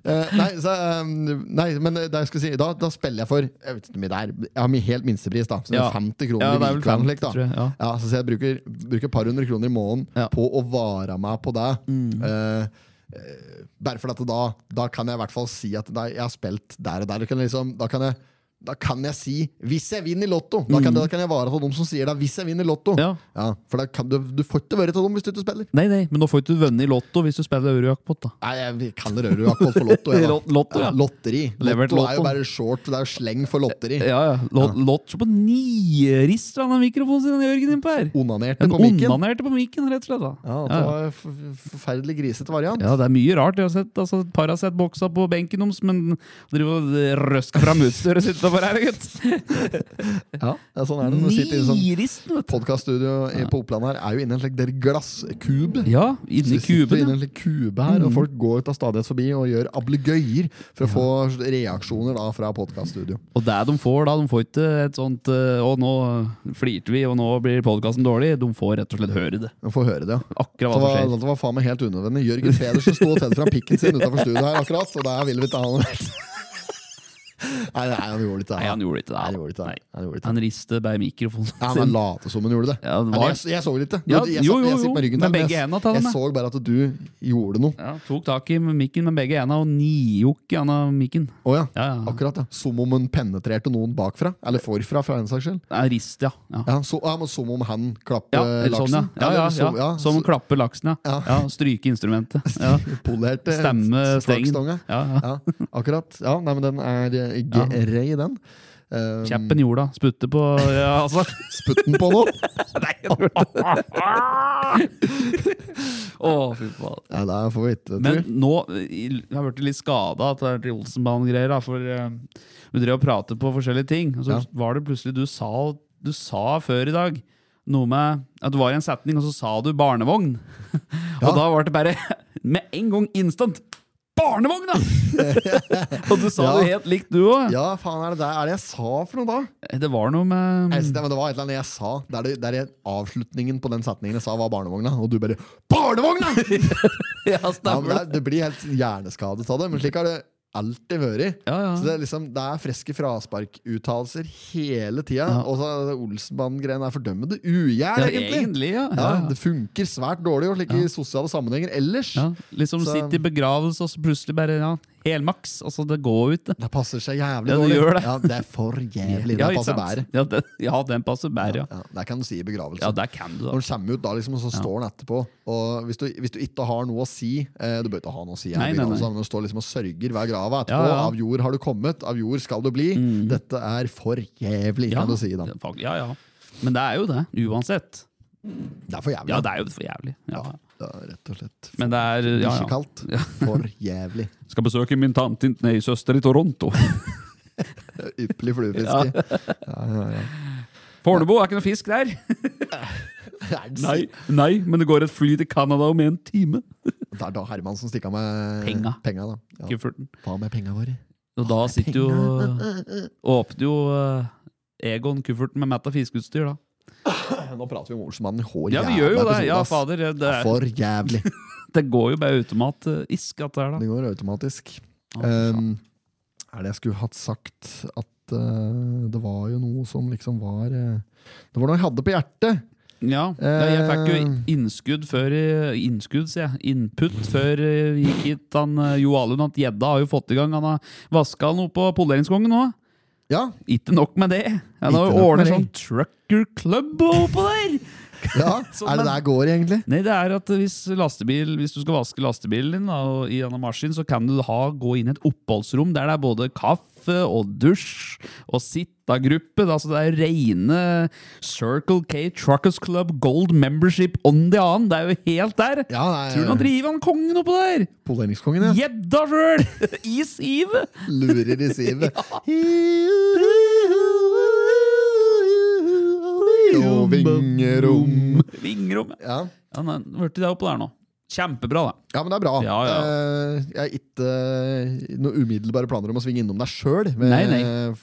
S2: Eh, nei, så, eh, nei, men det jeg skulle si, da, da spiller jeg for Jeg vet ikke hvor mye det er Jeg har min helt minstepris, da. Så det
S1: Ja.
S2: er 50 kroner
S1: Ja,
S2: i
S1: det er vel
S2: uka.
S1: 50,
S2: slik, da.
S1: tror jeg, ja.
S2: Ja, så jeg bruker, bruker et par hundre kroner i måneden
S1: Ja. Mm.
S2: på å vare meg på det. Eh, eh, bare for at da, da kan jeg i hvert fall si at da, jeg har spilt der og der. Jeg Kan liksom, da, kan jeg, da kan jeg si 'hvis jeg vinner Lotto'. Da kan, da kan jeg vare på dem som sier det. 'Hvis jeg vinner Lotto'.
S1: Mm. Ja.
S2: for da kan du, du får ikke være til dem hvis du ikke spiller.
S1: Nei, nei, men nå får du ikke vunnet i Lotto hvis du spiller Eurojackpot, da.
S2: Nei, jeg kaller det Eurojackpot for Lotto. Jeg, da.
S1: Lot- lotto, ja.
S2: Lotteri.
S1: Levert
S2: Lotto er jo
S1: lotto.
S2: bare short, det er jo sleng for lotteri.
S1: Ja, ja. Lot- Lotto på nierist fra den mikrofonen sin, Jørgen, innpå her.
S2: Onanerte
S1: En
S2: på mikken.
S1: onanerte på mikken, rett og slett. da.
S2: Ja, det
S1: ja.
S2: var en f- forferdelig grisete variant.
S1: Ja, det er mye rart. Jeg har sett, altså, et par har sett boksa på benken deres, men driver og røsker fram utstyret sitt utenfor her, gutt.
S2: Ja, det er sånn er det når du sitter i en sånn
S1: Nieristen, vet du.
S2: podkaststudio i- på Oppland her, er jo inne i en slik der glasskube.
S1: Ja, Mm.
S2: Så
S1: inni
S2: vi sitter inne i
S1: kuben.
S2: en slik kube her, og folk går ut av stadighet forbi og gjør ablegøyer for å få reaksjoner da fra podkaststudio.
S1: Og det de får da, de får ikke et sånt eh, Å, nå flirte vi, og nå blir podkasten dårlig. De får rett og slett høre det.
S2: Få høre det, ja.
S1: Akkurat
S2: Så
S1: hva
S2: var,
S1: som skjer.
S2: det var faen meg helt unødvendig. Jørgen Pedersen sto og tente fram pikken sin utenfor studio her akkurat, så der ville vi ikke ha noe mer. Nei, nei, han gjorde ikke det.
S1: Nei, han gjorde ikke det.
S2: Han gjorde ikke det. Han gjorde ikke det.
S1: Han rister bare mikrofonen
S2: Ja, men han
S1: sin.
S2: late som han gjorde det.
S1: Ja, det
S2: Eller,
S1: var-
S2: jeg, jeg så det ikke.
S1: Ja,
S2: jeg, jeg,
S1: jo, jo,
S2: jeg
S1: jo.
S2: sitter med ryggen
S1: Med
S2: til, men
S1: begge hendene til
S2: jeg, jeg
S1: han, ja.
S2: så bare at du gjorde noe.
S1: Ja, tok tak i mikken med begge hendene og nijokk i anna mikken.
S2: Å ja.
S1: Ja, ja.
S2: Akkurat, ja. Som om hun penetrerte noen bakfra. Eller forfra, for den saks skyld.
S1: Ja, rist, ja. ja.
S2: Ja, så, ja, men som om han klapper
S1: Ja, eller sånn, ja.
S2: Eh, laksen.
S1: Ja, ja,
S2: eller
S1: ja,
S2: som- ja,
S1: Som
S2: så-
S1: klapper laksen, ja.
S2: Ja.
S1: ja stryke instrumentet. Ja.
S2: polerte
S1: Stemme stengen.
S2: flakstonga.
S1: Ja, ja.
S2: Ja, akkurat. Ja, nei, men den er eh, grei, den. Um,
S1: Kjeppen i jorda. Sputte på Ja, altså.
S2: Putten på noe.
S1: Å, fy faen.
S2: Ja, det får vi ikke, eh, tror
S1: Men
S2: jeg.
S1: nå jeg har jeg blitt litt skada av det Olsenbanen-greier. da, For eh, vi drev og pratet på forskjellige ting, og så
S2: Ja.
S1: var det plutselig du sa, du sa før i dag noe med at du var i en setning, og så sa du 'barnevogn'.
S2: Ja.
S1: Og da var det bare med en gang instant 'barnevogn', da! og du sa
S2: Ja.
S1: det helt likt, du òg.
S2: Ja, faen, er det det, er det jeg sa for noe da?
S1: Det var noe med
S2: Jeg synes det, men det var et eller annet jeg sa. Der, det, der jeg, avslutningen på den setningen jeg sa, var barnevogna. Og du bare 'Barnevogna!'
S1: Ja,
S2: Ja, men det,
S1: stemmer det. Mm.
S2: er- det blir helt hjerneskadet av det. Men slik har det alltid vært.
S1: Ja, ja.
S2: Så det er liksom, det er friske frasparkuttalelser hele tida. Og så er det Olsenbanen-greien er fordømmende ugjern,
S1: Ja,
S2: egentlig.
S1: egentlig, ja.
S2: Ja, det funker svært dårlig og slik i sosiale sammenhenger ellers.
S1: Ja, liksom
S2: Så-
S1: sitte i begravelse, og så plutselig bare ja, helmaks. Altså, det går ut, det.
S2: Det passer seg jævlig
S1: Ja, det
S2: dårlig.
S1: gjør det.
S2: Ja, det er for jævlig.
S1: Ja,
S2: det
S1: ikke
S2: passer
S1: sant?
S2: bedre.
S1: Ja, den, ja, den passer bære, ja.
S2: Ja, altså. det kan du si i begravelse.
S1: Ja, der kan du, da.
S2: Når den kommer ut, da liksom, og så står den etterpå. Og hvis du, hvis du ikke har noe å si eh, Du bør ikke ha noe å si, her i
S1: Nei, nei,
S2: begravelsen,
S1: nei.
S2: men du står liksom og sørger ved grava etterpå.
S1: Ja, ja. Mm.
S2: Av jord har du kommet, av jord skal du bli. Dette er for jævlig,
S1: Ja,
S2: kan du si. da
S1: det er fag- ja, ja. Men det er jo det, uansett.
S2: Det er for jævlig.
S1: Ja, det er jo for jævlig. Ja.
S2: Ja, rett og slett.
S1: Men det er ja,
S2: Ikke
S1: ja.
S2: kaldt. For jævlig.
S1: Skal besøke min tante, nei, søster i Toronto.
S2: Ypperlig fluefiske.
S1: Fornebu, er ikke noe fisk der?
S2: Er det
S1: nei, men det går et fly til Canada om en time.
S2: Det er da Hermansen stikk av med
S1: Penga.
S2: penga da. Ja.
S1: Kufferten.
S2: Hva med penga våre?
S1: Og da sitter jo eh, Åpner jo eh, Egon kufferten med mett av fiskeutstyr, da.
S2: Nå prater vi om Olsenmannen. Hår
S1: Ja, vi
S2: jævla
S1: gjør jo det!
S2: episode,
S1: Ja,
S2: ass.
S1: fader. eh, Det, er,
S2: For jævlig.
S1: det går jo bare automatisk, at det er da.
S2: Det går automatisk.
S1: Å, fy faen.
S2: Um, er det jeg skulle hatt sagt at eh, det var jo noe som liksom var eh, Det var noe jeg hadde på hjertet!
S1: Ja, ja, jeg fikk jo
S2: Eh.
S1: innskudd før i- Innskudd, sier jeg. Input før eh, vi gikk hit. Han, eh, Jo Alun at gjedda har jo fått i gang. Han har vaska noe på poleringskongen nå.
S2: Ja,
S1: Ikke nok med det. Han
S2: Ikke
S1: har jo
S2: nok med
S1: ordnet
S2: det.
S1: sånn trucker club oppå der!
S2: ja.
S1: Som
S2: Er det
S1: en-
S2: der går, egentlig?
S1: Nei, det er at hvis, lastebil, hvis du skal vaske lastebilen din da, og i denne maskinen, så kan du ha, gå inn i et oppholdsrom der det er både kaffe og dusj og sittagruppe. da, så det er rene Circle K Truckers Club Gold Membership on the annen. Det er jo helt der!
S2: Ja, nei,
S1: Tror du han driver han kongen oppå der?
S2: Poleringskongen, ja.
S1: Gjedda sjøl! I sivet!
S2: Lurer i sivet. Og vingerom.
S1: Vingerom. Ja,
S2: Ja.
S1: Han er- hørte det oppå der nå. Kjempebra, da.
S2: ja, men det er bra.
S1: Ja, ja.
S2: Eh, jeg har ikke noen umiddelbare planer om å svinge innom deg sjøl.
S1: Nei, nei.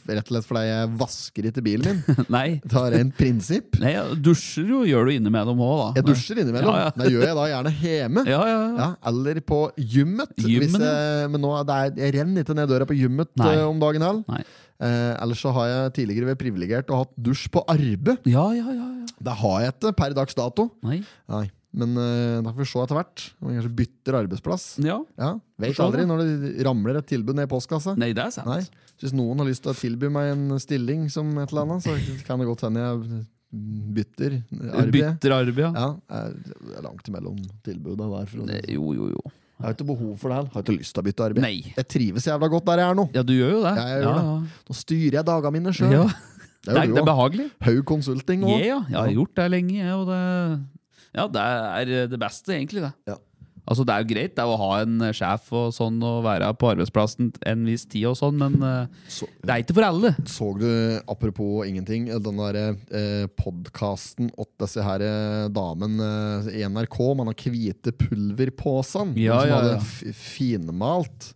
S2: Rett og slett fordi jeg vasker ikke bilen min.
S1: Nei.
S2: Det er rent prinsipp.
S1: Nei, dusjer jo, gjør du innimellom òg, da.
S2: Jeg dusjer innimellom.
S1: Ja, ja.
S2: Det gjør jeg da gjerne hjemme.
S1: Ja, ja, ja.
S2: Ja, eller på gymmet. Hvis
S1: Gymmen,
S2: jeg, men nå, er det er, jeg renner ikke ned døra på gymmet
S1: Nei.
S2: eh, om dagen. Hell.
S1: Nei.
S2: Eh, ellers så har jeg tidligere vært privilegert og hatt dusj på arbeid.
S1: Ja, ja, ja. ja.
S2: Det har jeg ikke per dags dato.
S1: Nei.
S2: Nei. Men eh, da får vi se etter hvert. Om jeg kanskje bytter arbeidsplass.
S1: Ja.
S2: Ja, Vet
S1: se, da.
S2: aldri når det ramler et tilbud ned i postkassa.
S1: Nei, det er sant.
S2: Nei. Så Hvis noen har lyst til å tilby meg en stilling som et eller annet, så kan det godt hende jeg bytter arbeid.
S1: Bytter arbeid, ja.
S2: Ja, eh, det er langt imellom tilbudene der. For å si det
S1: Nei,
S2: sånn.
S1: Jo, jo, jo.
S2: Jeg har ikke behov for det her. Har ikke lyst til å bytte arbeid.
S1: Nei.
S2: Jeg trives jævla godt der jeg er nå.
S1: Ja, du gjør jo det.
S2: Ja, jeg gjør Nå styrer jeg dagene mine
S1: ja.
S2: sjøl.
S1: Ja.
S2: Det
S1: Det,
S2: er
S1: er,
S2: jo du
S1: det er
S2: òg.
S1: behagelig.
S2: Haug Consulting
S1: Ja,
S2: òg.
S1: ja. Jeg har gjort det lenge, jeg, og det Ja, det er eh, det beste, egentlig, det.
S2: Ja.
S1: Altså, det er jo greit det er å ha en eh, sjef og sånn, og være på arbeidsplassen en viss tid og sånn, men eh,
S2: Så-
S1: det er ikke for alle.
S2: Så du, apropos ingenting, den derre eh, podkasten åt disse her eh, damen eh, i NRK Man har hvite pulverposen
S1: Ja,
S2: som
S1: ja,
S2: hadde
S1: ja.
S2: f- finmalt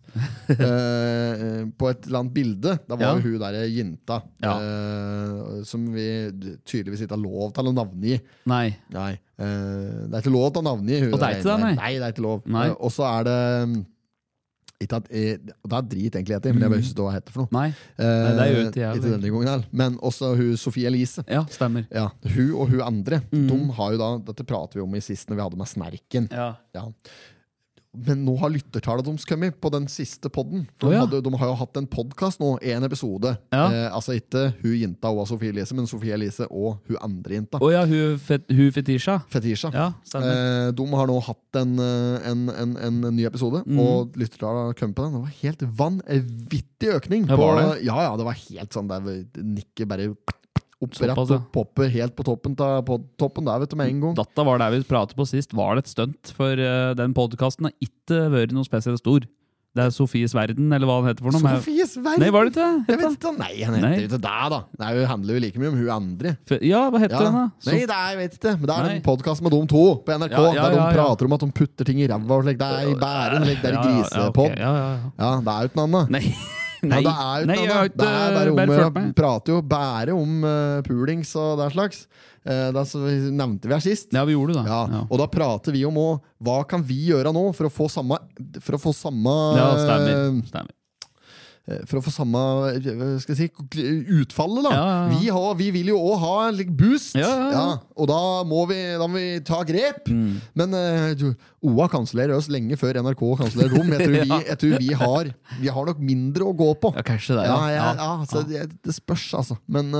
S2: eh, eh, på et eller annet bilde. Da var
S1: Ja.
S2: jo hun derre jenta
S1: Ja.
S2: eh, som vi tydeligvis ikke har lov til å navngi.
S1: Nei.
S2: Nei. eh, det er ikke lov å ta navngi.
S1: Og det er ikke det, nei.
S2: nei, det er ikke lov.
S1: Nei.
S2: Eh, og så er det mm, ikke at, eh, og Det er drit, egentlig, heter, men jeg
S1: Mm.
S2: bare husker ikke hva det heter for noe.
S1: Nei.
S2: Eh,
S1: Nei, det gjør ikke jeg
S2: ikke denne gangen her. Men også hun Sofie Elise.
S1: Ja, stemmer.
S2: Ja, hun og hun andre.
S1: Mm.
S2: De har jo da, Dette prater vi om i sist når vi hadde med Snerken.
S1: Ja.
S2: Ja. Men nå har lyttertallet deres kommet på den siste podden. For
S1: Å, ja.
S2: de, hadde, de har jo hatt en podkast nå, én episode.
S1: Ja.
S2: Eh, altså ikke hun jenta og Sofie Elise, men Sofie Elise og hun andre jenta.
S1: Å ja, hun, fet, hun fetisja.
S2: Fetisha.
S1: Ja, stemmer.
S2: Eh, de har nå hatt en, eh, en, en, en ny episode,
S1: Mm.
S2: og lyttertallet har kommet på den. Det var helt vanvittig økning.
S1: Ja,
S2: på,
S1: var
S2: ja, ja, det var helt sånn der nikket bare opprett
S1: Såpass, ja.
S2: og popper helt på toppen, ta, på toppen der, vet du, med en gang.
S1: Data var der vi pratet på sist. Var det et stunt? For eh, den podkasten har ikke vært noe spesielt stor. Det er Sofies verden, eller hva den heter for noe. men-
S2: Sofies verden!
S1: Nei, var det ikke det?
S2: Jeg vet
S1: Hette?
S2: ikke, nei, han heter
S1: Nei.
S2: ikke det, da. Det er jo- handler jo like mye om hun andre.
S1: Fe- Ja, hva heter
S2: Ja.
S1: den, da?
S2: Nei,
S1: Sof-
S2: det er, jeg vet ikke. Men det er
S1: Nei.
S2: en podkast med de to på NRK,
S1: Ja, ja,
S2: der de
S1: ja, ja.
S2: prater om at de putter ting i ræva og slik. Det er i bæren, slik. Det er i
S1: Ja, ja, ja, ok.
S2: grisepod.
S1: Ja, ja, ja.
S2: Ja, det er jo ikke noe annet.
S1: Nei.
S2: Nei,
S1: Nei.
S2: det er jo
S1: Nei,
S2: ikke
S1: jeg
S2: noe
S1: har
S2: annet. Det er bare
S1: ikke
S2: om
S1: bare fulgt
S2: eh,
S1: med.
S2: prater jo bare om eh, pulings og den slags. Eh, det er så, nevnte vi her sist.
S1: Ja, vi gjorde det. da.
S2: Ja,
S1: Ja.
S2: og da prater vi om òg hva kan vi gjøre nå for å få samme For å få samme,
S1: Ja, stemmer. stemmer.
S2: eh, for å få samme eh, hva skal jeg si, utfallet, da.
S1: Ja, ja, ja.
S2: Vi, har, vi vil jo òg ha en lik boost,
S1: Ja, ja, Mm. ja.
S2: og da må vi, da må vi ta grep. Men eh, du, OA kansellerer oss lenge før NRK kansellerer dem. Jeg tror, vi, jeg tror vi, har, vi har nok mindre å gå på.
S1: Ja, kanskje det.
S2: Ja,
S1: ja.
S2: ja,
S1: ja.
S2: ja, så det, det spørs, altså. Men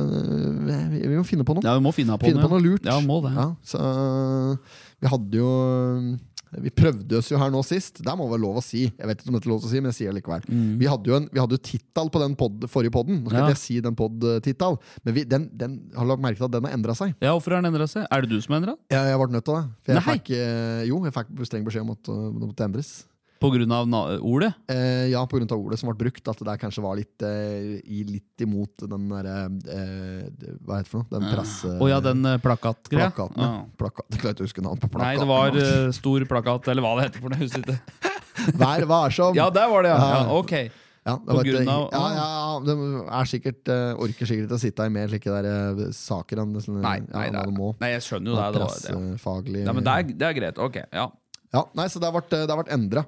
S2: øh, vi, vi må finne på noe.
S1: Ja, vi må finne på,
S2: finne på noe lurt.
S1: Ja, må det.
S2: Ja, så, øh, vi hadde jo øh, Vi prøvde oss jo her nå sist. Det må være lov å si. Jeg vet ikke om det er lov å si, men jeg sier det likevel.
S1: Mm.
S2: Vi hadde jo en vi hadde jo tittel på den podd, forrige podden. Nå skal
S1: Ja.
S2: ikke jeg si den podd-tittel, men vi, den, den har lagt merke til at den har endra seg.
S1: Ja, Hvorfor har den endra seg? Er det du som endra den?
S2: Jeg, jeg ble nødt til det. For jeg
S1: Nei.
S2: fikk, øh, jo, jeg fikk streng beskjed om at øh, det måtte endres.
S1: På grunn av na ordet?
S2: Eh, ja, pga. ordet som ble brukt, at det der kanskje var litt, eh, i, litt imot den derre eh, det- Hva heter det for noe? Den presse...
S1: Å ja, den eh, plakatgreia?
S2: plakaten.
S1: Ja.
S2: Ja. Plakat. Jeg klarer ikke å huske navnet på plakaten.
S1: Nei, det var eh, stor plakat, eller hva det heter for noe. jeg husker ikke.
S2: Vær varsom!
S1: Ja, der var det, ja.
S2: Ja.
S1: ja ok.
S2: Ja, det
S1: På
S2: var et-
S1: grunn av-
S2: ja, ja, ja, de er sikkert, eh, orker sikkert å sitte her med slike der, eh, saker enn sånne-
S1: Nei,
S2: ja,
S1: nei, det
S2: hva
S1: er,
S2: de må.
S1: nei, jeg skjønner jo det. det, var, det.
S2: Pressefaglig
S1: Nei, men det er, det er greit. Ok, ja.
S2: Ja, nei, så det har vært, det har vært endra.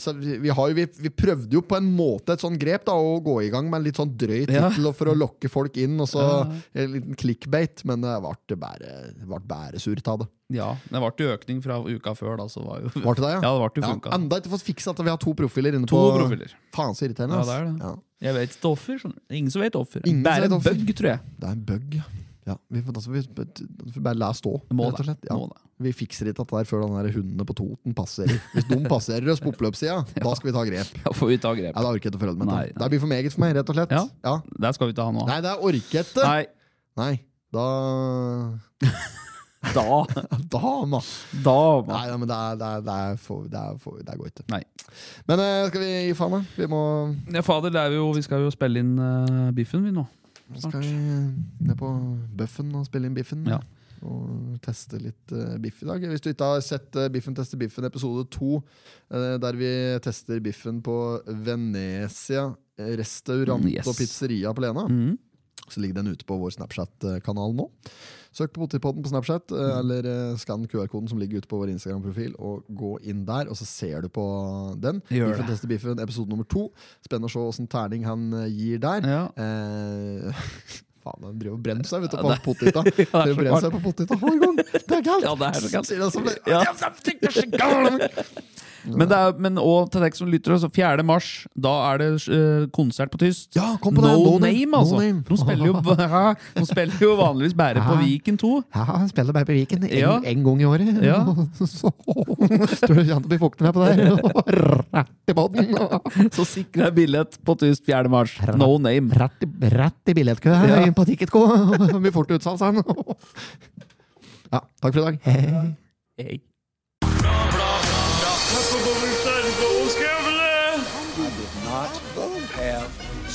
S2: så vi, vi, har jo, vi, vi prøvde jo på en måte et sånn grep, da, å gå i gang med en litt sånn drøy
S1: Ja.
S2: tittel og for å lokke folk inn, og så
S1: Eh,
S2: en liten clickbait, men eh, det ble bare, ble bare surt av det.
S1: ja. Det ble jo økning fra uka før, da. Så var jo
S2: Ble det det, ja?
S1: Ja, det ble jo funka.
S2: Enda ikke fått fiksa at vi har to profiler inne
S1: To
S2: på
S1: profiler.
S2: Faen så irriterende.
S1: Ja,
S2: ass.
S1: det er det.
S2: Ja.
S1: Jeg vet ikke offer. skjønner du. Ingen som vet offer.
S2: Ingen som
S1: Bare
S2: vet
S1: en
S2: offer.
S1: bug, tror jeg.
S2: Det er en bug. Ja, vi får, altså, vi, vi får bare la stå,
S1: Må
S2: rett og
S1: det.
S2: slett. Ja.
S1: Må det.
S2: Vi fikser ikke dette her før den der hundene på Toten passerer. Hvis de passerer oss på oppløpssida, da skal vi ta grep.
S1: Da får vi ta grep.
S2: Ja, da orker jeg ikke å følge med. da.
S1: Nei, nei.
S2: Det blir for meget for meg, rett og slett.
S1: Ja. Der skal vi ikke ha noe av.
S2: Nei, det orker jeg ikke. Nei.
S1: Nei,
S2: da
S1: da
S2: Da, mann!
S1: Da
S2: Nei, nei, men det, er, det, er, det, er for, det, er for, det går ikke.
S1: Nei.
S2: Men eh, skal vi gi faen, da? Vi må
S1: Ja, fader, det er jo, vi skal jo spille inn eh, biffen, vi nå.
S2: skal vi eh, ned på Bøffen og spille inn Biffen.
S1: Ja.
S2: Og teste litt eh, biff i dag. Hvis du ikke har sett eh, Biffen tester biffen episode to, eh, der vi tester biffen på Venezia eh, restaurant
S1: Mm, yes.
S2: og pizzeria på Lena,
S1: Mhm.
S2: så ligger den ute på vår Snapchat-kanal nå. Søk på Potipodden på Snapchat, eh,
S1: Mm.
S2: eller eh, skann QR-koden som ligger ute på vår Instagram-profil, og gå inn der, og så ser du på den.
S1: Gjør
S2: Biffen
S1: det.
S2: tester biffen, episode nummer to. Spennende å se åssen terning han eh, gir der.
S1: Ja.
S2: Eh, faen, han driver og brenner seg vet du,
S1: Ja,
S2: på
S1: det-
S2: potita.
S1: det
S2: Driver og
S1: er så
S2: brenner seg på potita hver gang. Det er galt!
S1: Ja, det er så galt.
S2: Sier han som det-
S1: Ja.
S2: Ja.
S1: Men, det er, men og til deg som lytter, altså 4. mars, da er det eh, konsert på tyst.
S2: kom på det!
S1: No, name, altså.
S2: No name.
S1: De, spiller jo, ja, de spiller jo vanligvis bare på
S2: Ja.
S1: Viken 2.
S2: Ja, han spiller bare på Viken en,
S1: Ja.
S2: en gang i året.
S1: Ja.
S2: Så tror du ikke han blir våken her på der? Rett i båten!
S1: Så sikrer jeg billett på tyst 4. mars. No name.
S2: Rett, i- rett i billettkø her,
S1: Ja.
S2: inn på Ticketco. Det Blir fort utsalg, sa han. Ja, takk for i dag.
S1: Hey.
S3: I did not have